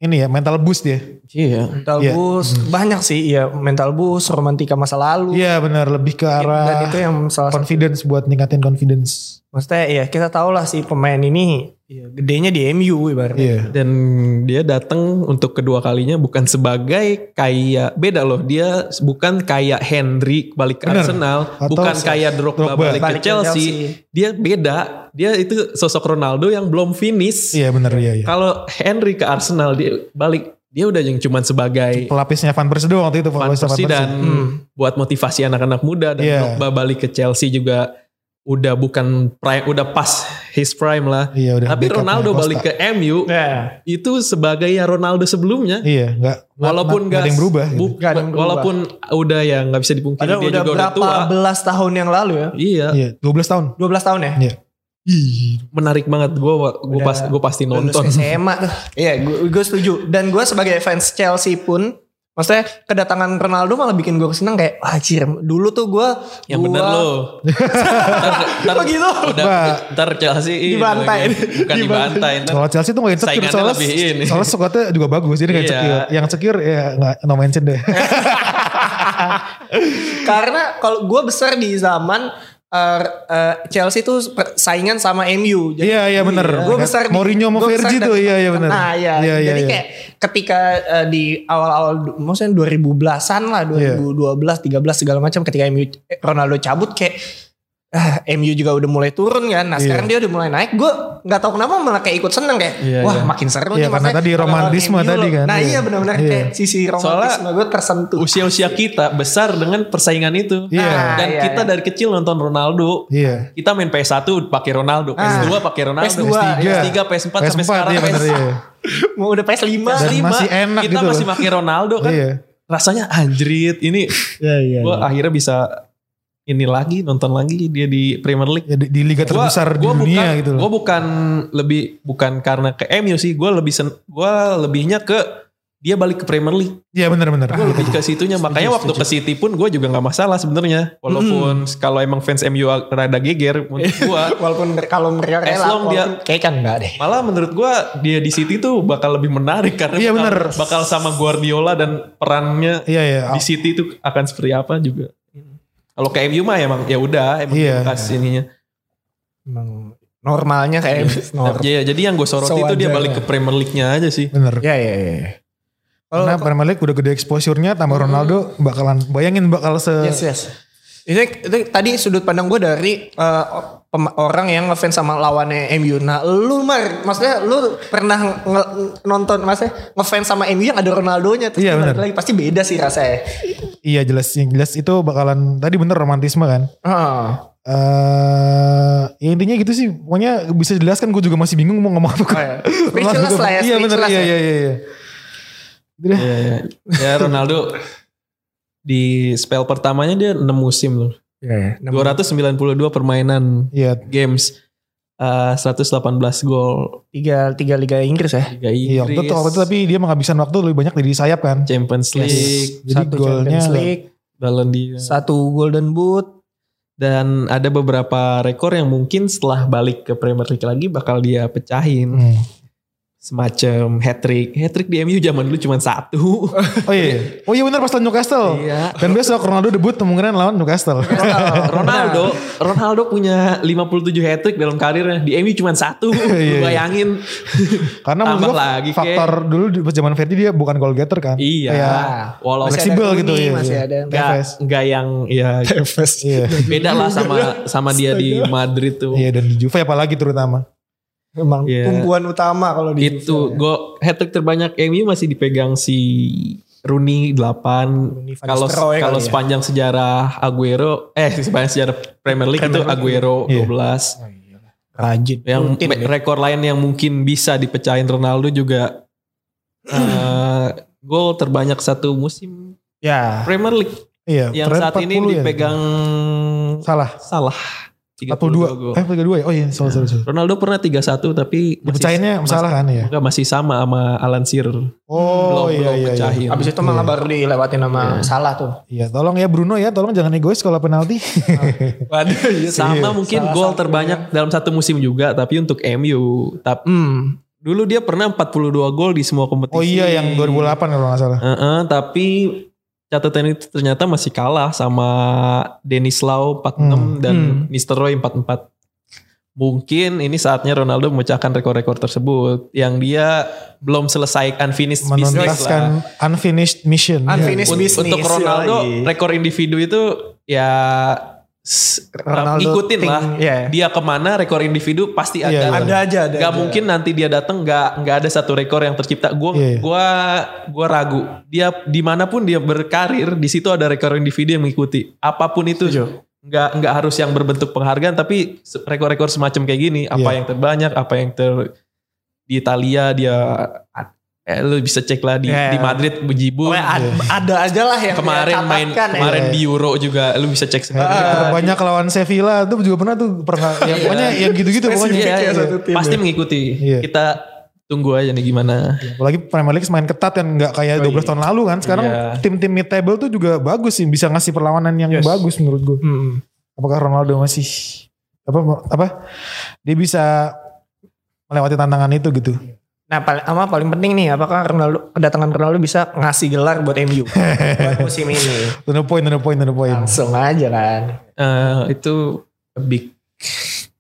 ini ya mental boost dia.
Iya.
Mental
Iya.
boost, banyak sih. Iya, mental boost, romantika masa lalu.
Iya benar lebih ke
Dan
arah
itu yang salah satu.
confidence buat ningkatin confidence.
Maksudnya ya kita tau lah si pemain ini ya, gedenya di MU ibaratnya.
Iya.
dan dia datang untuk kedua kalinya bukan sebagai kayak beda loh dia bukan kayak Henry balik ke
Bener.
Arsenal
Atau
bukan
se-
kayak Drogba,
Drogba.
balik, ke Chelsea. dia beda dia itu sosok Ronaldo yang belum finish
Iya benar iya iya.
kalau Henry ke Arsenal dia balik dia udah yang cuman sebagai
Pelapisnya Van Persie doang waktu itu.
Van
pelapisnya
Persie dan
Hmm.
buat motivasi anak-anak muda dan
Iya.
Pogba balik ke Chelsea juga udah bukan prime udah pas his prime lah.
Iya udah.
Tapi
backup-nya
Ronaldo
Costa.
balik ke MU
Ya.
itu sebagai ya Ronaldo sebelumnya.
Iya, nggak.
Walaupun
nggak
gak
ada yang berubah. gitu.
Nggak ada yang berubah.
walaupun udah ya nggak bisa dipungkiri
Padahal
dia
udah
juga udah
berapa
tua.
belas tahun yang lalu ya?
Iya,
Iya, 12 tahun.
12 tahun ya?
menarik banget gue gue
Udah
pas gue pasti
Lulus
nonton.
SMA tuh. Iya, gue setuju. Dan gue sebagai fans Chelsea pun Maksudnya kedatangan Ronaldo malah bikin gue seneng kayak wah anjir dulu tuh gue
Yang bener
gua-
lo. Ntar
Kok gitu?
udah
Mbak.
ntar Chelsea ini
Dibantai.
lagi. Bukan dibantai. ntar
Kalau Chelsea tuh nggak insecure
Saingannya
soalnya,
lebih ini.
soalnya squadnya juga bagus jadi nggak
Iya.
insecure. Yang secure ya nggak no mention deh.
Karena kalau gue besar di zaman eh, eh, Chelsea tuh per- saingan sama MU.
Iya, iya, bener.
Gue besar di-
Mourinho sama
gua besar
Fergie
dan-
tuh, iya, iya, bener.
Nah iya.
Iya, iya,
Jadi
iya.
kayak ketika eh, di awal-awal du- maksudnya 2010-an
Iya.
lah, 2012, 13 segala macam ketika MU eh, Ronaldo cabut kayak ah, MU juga udah mulai turun kan.
Iya.
Nah, sekarang dia udah mulai naik. Gue nggak tahu kenapa malah kayak ikut seneng kayak
Iya,
wah
iya.
makin seru
Iya,
nih,
karena
maksudnya
tadi
lawan
romantisme
MU
tadi
loh.
kan,
Nah,
iya.
iya benar-benar
Iya.
kayak sisi romantisme gue tersentuh.
usia-usia kita besar dengan persaingan itu.
Iya.
Nah,
Dan
iya,
kita
iya.
dari kecil nonton Ronaldo.
Iya.
Kita main PS1 pakai Ronaldo,
Ah.
PS2 pakai Ronaldo,
PS2,
PS3, PS4, sampai sekarang kan.
iya bener
PS5.
iya.
mau udah PS 5
Dan masih enak
kita
gitu
masih
loh.
pakai Ronaldo kan.
Iya.
Rasanya anjrit. Ini
Iya, iya.
gue akhirnya bisa ini lagi nonton lagi dia di Premier League.
Ya, di, di liga
Gua-
terbesar di
gua
dunia
bukan,
gitu loh.
Gue bukan lebih bukan karena ke MU sih, gue lebih sen, gua lebihnya ke dia balik ke Premier League.
Iya benar-benar.
Gue lebih ke situnya, makanya waktu ke City pun gue juga nggak masalah sebenarnya. Walaupun kalau emang fans MU rada geger, menurut gue
walaupun mer- kalau mereka
As
rela
long dia-
kayak kan enggak deh
malah menurut gue dia di City tuh bakal lebih menarik karena
Iya,
bakal,
bener.
bakal sama Guardiola dan perannya
Iya iya.
di City itu akan seperti apa juga. Kalau ke MU mah emang ya udah, emang
Iya.
bekas ininya.
Emang normalnya kayak Iya,
Oh.
normal
Ya, jadi yang gue soroti itu dia
Sewajarnya.
balik ke Premier League-nya aja sih.
Bener.
ya ya ya kalau Mm-hmm.
Karena Premier League udah gede exposure-nya tambah Ronaldo bakalan bayangin bakal se
yes yes ini, itu tadi sudut pandang gue dari eh, pem- orang yang ngefans sama lawannya MU. Nah, lu mar, maksudnya lu pernah nge- nonton, maksudnya ngefans sama MU yang ada Ronaldonya, terus lu
Iya, bener.
balik lagi pasti beda sih rasanya.
Iya jelas yang jelas itu bakalan tadi bener romantisme kan.
Oh,
Eh ya intinya gitu sih. Pokoknya bisa jelaskan gue juga masih bingung mau ngomong apa.
Oh, iya. Speechless lah ya,
Iya bener
speechless
iya
ya.
iya iya. iya. Gitu deh.
Iya, iya. Ya Ronaldo di spell pertamanya dia 6 musim loh.
iya.
292 permainan
Iya.
games. Eh, 118 gol
Tiga tiga Liga Inggris ya.
Liga
Iya, waktu
Inggris.
itu, waktu itu tapi dia menghabiskan waktu lebih banyak dari sayap kan.
Champions League,
Jadi
satu
golnya
Champions League,
Ballon d'Or.
satu Golden Boot.
Dan ada beberapa rekor yang mungkin setelah balik ke Premier League lagi bakal dia pecahin.
Hmm.
Semacam hat-trick. Hat-trick di MU zaman dulu cuma satu.
Oh iya. Oh iya benar pas lawan Newcastle.
Iya.
Dan besok Ronaldo debut kemungkinan lawan Newcastle.
Oh.
Ronaldo, Ronaldo punya 57 hat trick dalam karirnya. Di MU cuma satu. Lu bayangin.
Karena menurut
Tambah
gua
lagi, Ke.
faktor dulu di pas zaman Ferdi dia bukan goal getter kan.
Iya.
Kayak
Masih
Walau
ada
fleksibel
Rooney,
gitu ya.
masih ada.
nggak
Tevez.
nggak yang ya
Iya.
beda lah sama sama dia di Madrid tuh.
Iya dan di Juve apalagi terutama.
Emang
Iya.
tumpuan utama kalau di
Itu gue hat trick terbanyak MU masih dipegang si Rooney 8
Rooney, ya. Van
kalau
Nistelrooy kali
kalau
ya.
sepanjang sejarah Aguero eh sepanjang sejarah Premier League itu Aguero
Iya.
12
rajin.
yang
Rutin
me-
ya.
rekor lain yang mungkin bisa dipecahin Ronaldo juga eh, gol terbanyak satu musim
ya.
Premier League
Iya.
yang
terakhir
saat ini
40 ya.
dipegang
Salah.
salah
42.
gol.
Eh 32 ya. Oh iya, salah salah. salah.
Ronaldo pernah 31 tapi
Dipecahinnya masalah kan ya.
enggak masih sama sama Alan Shearer belum
Oh iya
belum
iya. iya.
pecahin
Abis itu malah baru dilewatin sama salah tuh.
Iya, tolong ya Bruno ya, tolong jangan egois kalau penalti.
Waduh,
iya,
sama mungkin
Salah
gol
satu
terbanyak dalam satu musim juga tapi untuk MU tapi
Hmm.
dulu dia pernah 42 gol di semua kompetisi
oh iya yang 2008 kalau nggak salah.
Heeh, tapi catatan itu ternyata masih kalah sama Dennis Lau 46
Hmm.
dan
Hmm.
Mr. Roy 44. Mungkin ini saatnya Ronaldo memecahkan rekor-rekor tersebut yang dia belum selesai unfinished business lah.
Menuntaskan unfinished mission.
Unfinished
Un-
business,
untuk
iya
Ronaldo
lagi.
rekor individu itu ya s-
Ronaldo
ngikutin
thing,
lah
iya.
dia kemana rekor individu pasti ada
Iya,
lah.
Ada aja, ada
Gak
aja.
mungkin nanti dia datang nggak nggak ada satu rekor yang tercipta. Gue
Iya.
gua gua ragu. Dia dimanapun dia berkarir di situ ada rekor individu yang mengikuti. Apapun itu nggak nggak harus yang berbentuk penghargaan tapi se- rekor-rekor semacam kayak gini. Apa
Iya.
yang terbanyak, apa yang ter di Italia dia eh, lu bisa cek lah di,
Iya.
di Madrid Bujibun.
Pokoknya ad- ada aja lah yang
Iya. kemarin main
dicatatkan ya.
kemarin di Euro juga lu bisa cek sendiri.
Ah,
Nah, banyak lawan Sevilla tuh juga pernah tuh pernah ya pokoknya yang gitu-gitu pokoknya
Iya,
ya,
iya.
satu tim
pasti mengikuti.
Iya.
Kita tunggu aja nih gimana.
apalagi Premier League main ketat kan nggak kayak 12 tahun lalu kan sekarang
Iya.
tim-tim mid table tuh juga bagus sih bisa ngasih perlawanan yang bagus menurut gue
Hmm.
apakah Ronaldo masih apa apa dia bisa melewati tantangan itu gitu
Nah, paling, sama paling penting nih, apakah Ronaldo kedatangan Ronaldo bisa ngasih gelar buat MU buat musim ini?
to the point to the point to the point
Langsung aja kan.
Eh, itu a big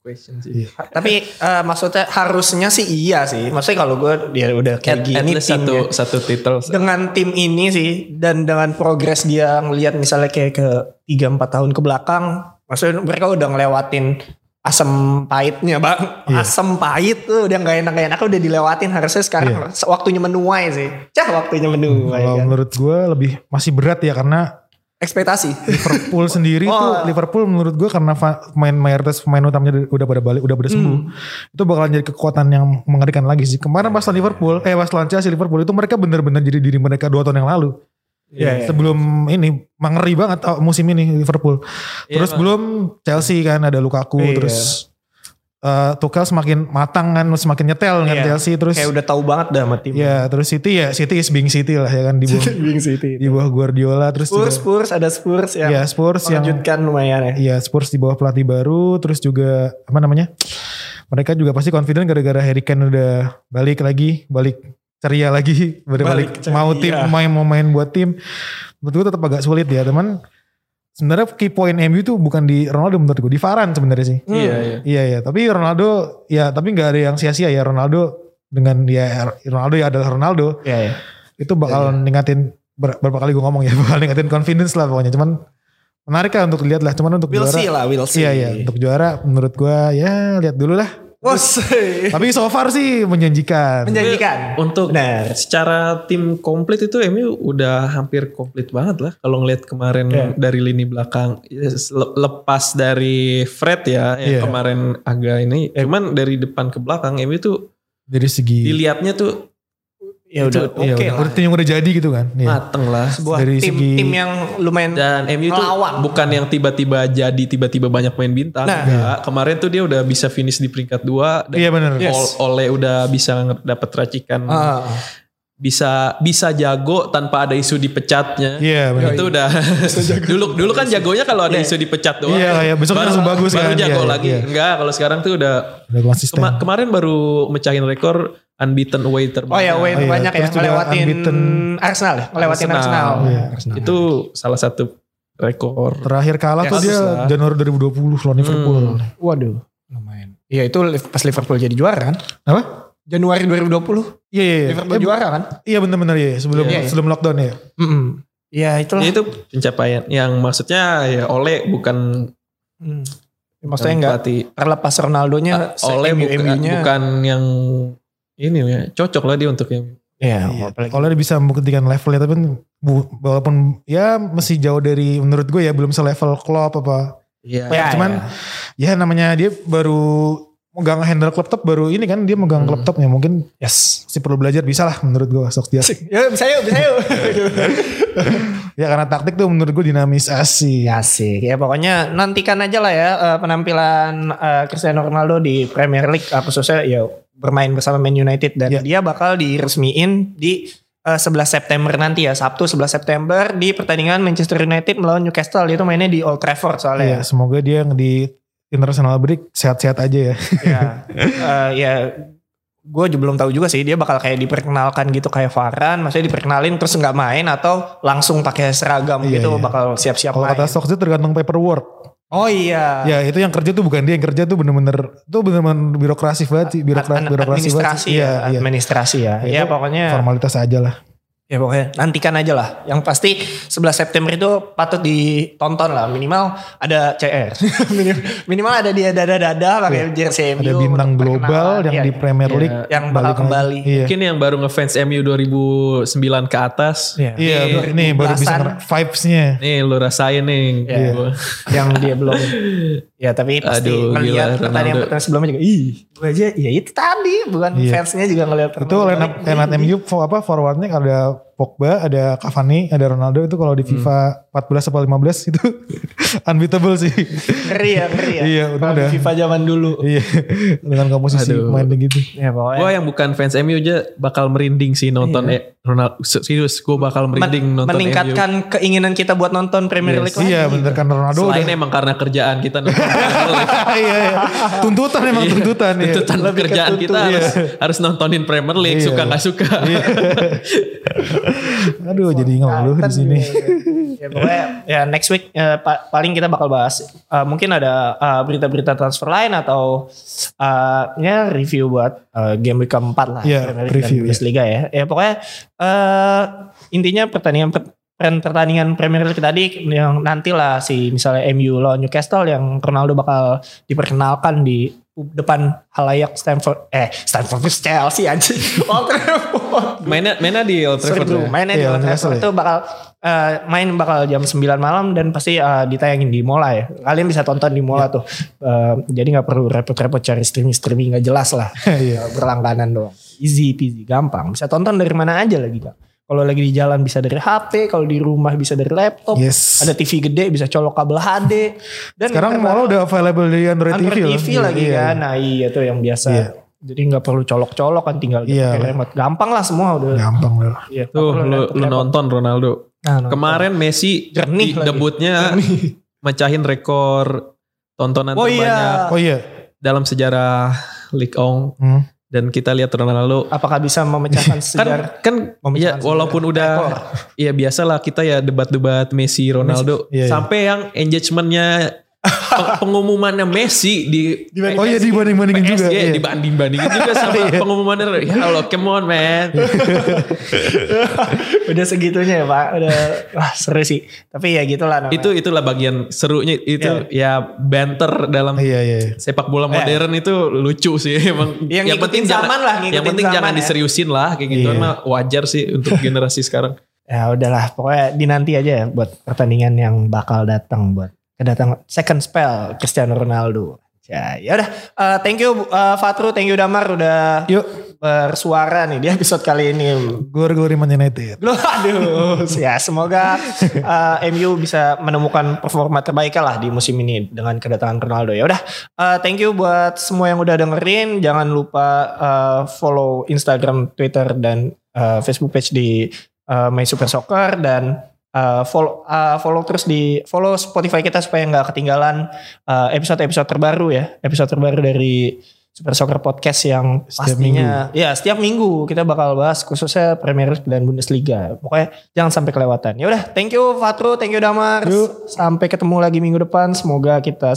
question sih.
Tapi eh, maksudnya harusnya sih iya sih. Maksudnya kalau gue dia udah kayak
At, at
gini
least satu
timnya.
satu titel.
dengan tim ini sih dan dengan progres dia ngelihat misalnya kayak ke 3 4 tahun ke belakang maksudnya mereka udah ngelewatin asam pahitnya bang
Iya.
asam pahit tuh udah nggak enak enak udah dilewatin harusnya sekarang waktunya menuai sih cah waktunya menuai
Iya. Hmm, kalau
kan.
menurut gue lebih masih berat ya karena
ekspektasi
Liverpool sendiri
Oh.
tuh Liverpool menurut gue karena fa- pemain mayoritas pemain utamanya udah pada balik udah pada sembuh
Hmm.
itu bakalan jadi kekuatan yang mengerikan lagi sih kemarin pas lawan Liverpool eh pas lawan Chelsea Liverpool itu mereka bener-bener jadi diri mereka dua tahun yang lalu
Iya, iya.
sebelum ini mengeri banget oh, musim ini Liverpool
Iya,
Terus
Bang.
belum Chelsea kan ada Lukaku
Iya.
terus eh, Tuchel semakin matang kan semakin nyetel kan
Iya.
Chelsea terus
kayak udah tahu banget dah sama tim
ya terus City ya City is being City lah ya kan di bawah,
Wing City
di bawah Guardiola Iya, terus
Spurs
juga
Spurs ada Spurs yang
ya Spurs yang
melanjutkan lumayan ya
ya Spurs di bawah pelatih baru terus juga apa namanya mereka juga pasti confident gara-gara Harry Kane udah balik lagi balik ceria lagi balik, balik
Balik ceria.
mau tim main mau main buat tim menurut gue tetap agak sulit ya teman sebenarnya key point MU tuh bukan di Ronaldo menurut gue di Varane sebenarnya sih
Hmm.
Iya, iya.
Iya ya, tapi Ronaldo ya tapi nggak ada yang sia-sia ya Ronaldo dengan ya Ronaldo ya adalah Ronaldo
Iya, iya.
itu bakal ningkatin ber- berapa kali gue ngomong ya bakal ningkatin confidence lah pokoknya cuman menarik lah untuk lihat lah cuman untuk
we'll
juara
see ya. lah we'll see
iya iya untuk juara menurut gue ya lihat dulu lah
We'll see.
tapi so far sih menjanjikan
menjanjikan
Untuk
Benar.
secara tim komplit itu MU udah hampir komplit banget lah kalau ngelihat kemarin
Iya.
dari lini belakang Yes, le- lepas dari Fred ya yang
Iya.
kemarin agak ini cuman dari depan ke belakang MU tuh
dari segi
dilihatnya tuh
ya udah oke
Iya,
lah
udah, tim yang udah jadi gitu kan Iya.
mateng lah
sebuah
Dari
tim
segi-
tim yang lumayan
dan MU tuh
Melawan.
bukan yang tiba-tiba jadi tiba-tiba banyak main bintang
Nah.
Enggak. kemarin tuh dia udah bisa finish di peringkat dua dan
iya bener
Iya.
Ol-
Yes.
Oleh udah bisa dapat racikan
Ah,
bisa bisa jago tanpa ada isu dipecatnya
iya bener
itu udah dulu dulu kan jagonya kalau ada isu dipecat doang
Iya, kayak besok
Baru-
langsung bagus
baru
kan.
jago
Iya,
lagi
iya.
enggak kalau sekarang tuh udah
udah konsisten
kema- kemarin baru mecahin rekor unbeaten away terbanyak
oh ya Wayne
iya,
banyak ya
terus juga
ngelewatin
unbeaten.
Arsenal ya ngelewatin Arsenal,
Arsenal.
Iya.
Arsenal.
itu salah satu rekor
terakhir kalah
Ya,
tuh dia
bagus lah.
Januari 2020 lawan Liverpool
waduh lumayan ya itu li- pas Liverpool jadi juara kan
apa
Januari 2020
iya iya iya.
Liverpool
Eh,
juara kan
Iya benar-benar ya sebelum
iya.
Iya,
sebelum lockdown ya.
Mm-mm. ya itulah
Ya, itu pencapaian yang maksudnya ya oleh bukan
Mm. maksudnya enggak
pelatih
terlepas
Ya,
Ronaldonya
oleh Ah, bukan,
nya
bukan yang ini ya cocok lah dia untuk yang
ya
Iya.
apalagi
Kalau dia bisa membuktikan levelnya tapi bu- walaupun ya masih jauh dari menurut gue ya belum selevel Klopp apa.
Iya.
Ya,
cuman ya namanya dia baru megang handle klub top baru ini kan dia megang
Hmm.
klub topnya mungkin
yes
masih perlu belajar bisa lah menurut gue sok dia.
ya bisa yuk bisa yuk
ya karena taktik tuh menurut gue dinamis asih.
Ya sih, ya pokoknya nantikan aja lah ya eh, penampilan eh, Cristiano Ronaldo di Premier League eh, khususnya ya bermain bersama Man United dan
Ya.
dia bakal diresmiin di eh, 11 September nanti ya Sabtu 11 September di pertandingan Manchester United melawan Newcastle itu mainnya di Old Trafford
Iya,
soalnya.
semoga dia yang di international break sehat-sehat aja ya.
ya, Eh, ya gue juga belum tahu juga sih dia bakal kayak diperkenalkan gitu kayak Varan, maksudnya diperkenalin terus nggak main atau langsung pakai seragam
Iya,
gitu
iya.
bakal siap-siap
Kalau
main.
kata Sokjit tergantung paperwork.
oh iya.
Ya itu yang kerja tuh bukan dia yang kerja tuh bener-bener tuh bener-bener birokrasi banget sih birokra-
An-
birokrasi banget.
administrasi
sih. Iya,
ya,
iya.
administrasi ya.
Itu
Ya pokoknya
Formalitas aja lah.
Ya pokoknya nantikan aja lah. Yang pasti 11 September itu patut ditonton lah. Minimal ada CR. Minim- minimal ada dia dada-dada pakai jersey MU.
Iya. Ada bintang
untuk
global
perkenalan.
yang
Iya,
di Premier
Iya.
League
Yang bakal
balik lagi.
kembali.
Iya.
Mungkin yang baru ngefans MU 2009 ke atas.
Iya.
Iya, ini baru bisa
2011-an.
nge- vibes-nya.
Nih lu rasain nih.
Iya. yang dia belum. Ya tapi pasti
Aduh,
ngelihat pertandingan
gila, Ronaldo.
pertandingan sebelumnya juga. Ih, gue aja ya itu tadi bukan
Iya.
fansnya juga ngelihat.
Itu line up, line up MU for- apa forwardnya ada Pogba, ada Cavani, ada Ronaldo itu kalau di FIFA 14 atau 15 itu unbeatable sih.
Ngeri ya, ngeri ya.
Iya, untung
Kalau di
ada.
FIFA zaman dulu.
Iya, dengan komposisi
Aduh.
pemain gitu. begitu.
Ya pokoknya.
Gue yang bukan fans MU aja bakal merinding sih nonton eh, Ronaldo. Serius, gue
Iya.
bakal
Men-
merinding nonton
meningkatkan keinginan kita buat nonton Premier
Yes.
League lagi.
Iya, bener kan
MU.
Ronaldo
Selain
udah.
emang karena kerjaan kita nonton Premier League.
iya, iya. Tuntutan emang tuntutan ya.
Tuntutan kerjaan kita
Iya.
harus, harus nontonin Premier League
Iya.
suka nggak suka.
Aduh, jadi ngeluh di
Mantan
sini.
juga. ya pokoknya ya next week eh, pa- paling kita bakal bahas eh, mungkin ada eh, berita-berita transfer lain atau eh, ya review buat eh, game week keempat lah Premier
Iya,
League dan
preview, ya.
Bundesliga ya. Ya pokoknya eh, intinya pertandingan pertandingan Premier League tadi yang nantilah si misalnya MU lawan Newcastle yang Ronaldo bakal diperkenalkan di depan halayak Stamford eh Stamford Bridge, Chelsea anjing Old Trafford
Mainnya mainnya di Old
Sorry
Trafford.
bro,
ya?
mainnya di
Iya,
Old Trafford
Newcastle
itu bakal eh, main bakal jam 9 malam dan pasti eh, ditayangin di Mola ya. Kalian bisa tonton di Mola
Iya.
tuh. Eh, jadi nggak perlu repot-repot cari streaming-streaming nggak jelas lah. Eh,
Iya.
Berlangganan doang. Easy peasy, gampang. Bisa tonton dari mana aja lagi Kak. Kalau lagi di jalan bisa dari HP, kalau di rumah bisa dari laptop. Oh,
Yes.
Ada TV gede bisa colok kabel HD. Dan
Sekarang
yang terbaru,
malah udah available di Android,
Android TV, lagi
Iya,
kan. Nah iya tuh yang biasa.
Iya.
Jadi nggak perlu colok-colok kan tinggal
Iya.
pakai remote. Gampang lah semua udah.
Gampang lah.
Iya, nggak
Tuh
perlu
lu, lu
repot-repot.
nonton Ronaldo.
Nah, nonton.
Kemarin Messi
Jernih
di-
lagi.
debutnya mecahin rekor tontonan
Oh iya.
terbanyak
Oh iya.
dalam sejarah League Ong
Hmm.
dan kita lihat Ronaldo
Apakah bisa memecahkan sejarah?
kan kan
Memecahkan
ya walaupun udah
rekor.
ya biasalah kita ya debat-debat Messi Ronaldo
Messi, iya, iya.
sampai yang engagementnya pe- pengumumannya Messi di
Oh iya dibanding-bandingin juga.
PSG
Iya.
dibanding-bandingin juga sama
Iya.
pengumumannya ya Allah come on man
udah segitunya ya Pak. Udah wah seru sih. Tapi ya gitulah namanya.
itu itulah bagian serunya
Iya.
itu ya banter dalam
Iya, iya. iya.
sepak bola modern itu lucu sih emang
Eh. Yang ngikutin zaman lah, ngikutin
yang penting
zaman
jangan
ya.
diseriusin lah kayak gitu
Iya.
mah wajar sih untuk generasi sekarang
ya udahlah pokoknya dinanti aja ya buat pertandingan yang bakal datang buat kedatangan second spell Cristiano Ronaldo. Ya, ya udah Eh, thank you eh, Fatru, thank you Damar udah
Yuk.
bersuara nih di episode kali ini.
Glory-glory Man United.
Loh, aduh. ya, semoga eh, MU bisa menemukan performa terbaiknya lah di musim ini dengan kedatangan Ronaldo. Ya udah, eh, thank you buat semua yang udah dengerin. Jangan lupa eh, follow Instagram, Twitter dan eh, Facebook page di eh, My Super Soccer dan eh, follow eh, follow terus di follow Spotify kita supaya nggak ketinggalan eh, episode-episode terbaru ya. Episode terbaru dari Super Soccer Podcast yang
Setiap
pastinya ya setiap minggu kita bakal bahas khususnya Premier League dan Bundesliga. Pokoknya jangan sampai kelewatan. Ya udah, thank you Fatru, thank you Damar.
Yuk.
Sampai ketemu lagi minggu depan. Semoga kita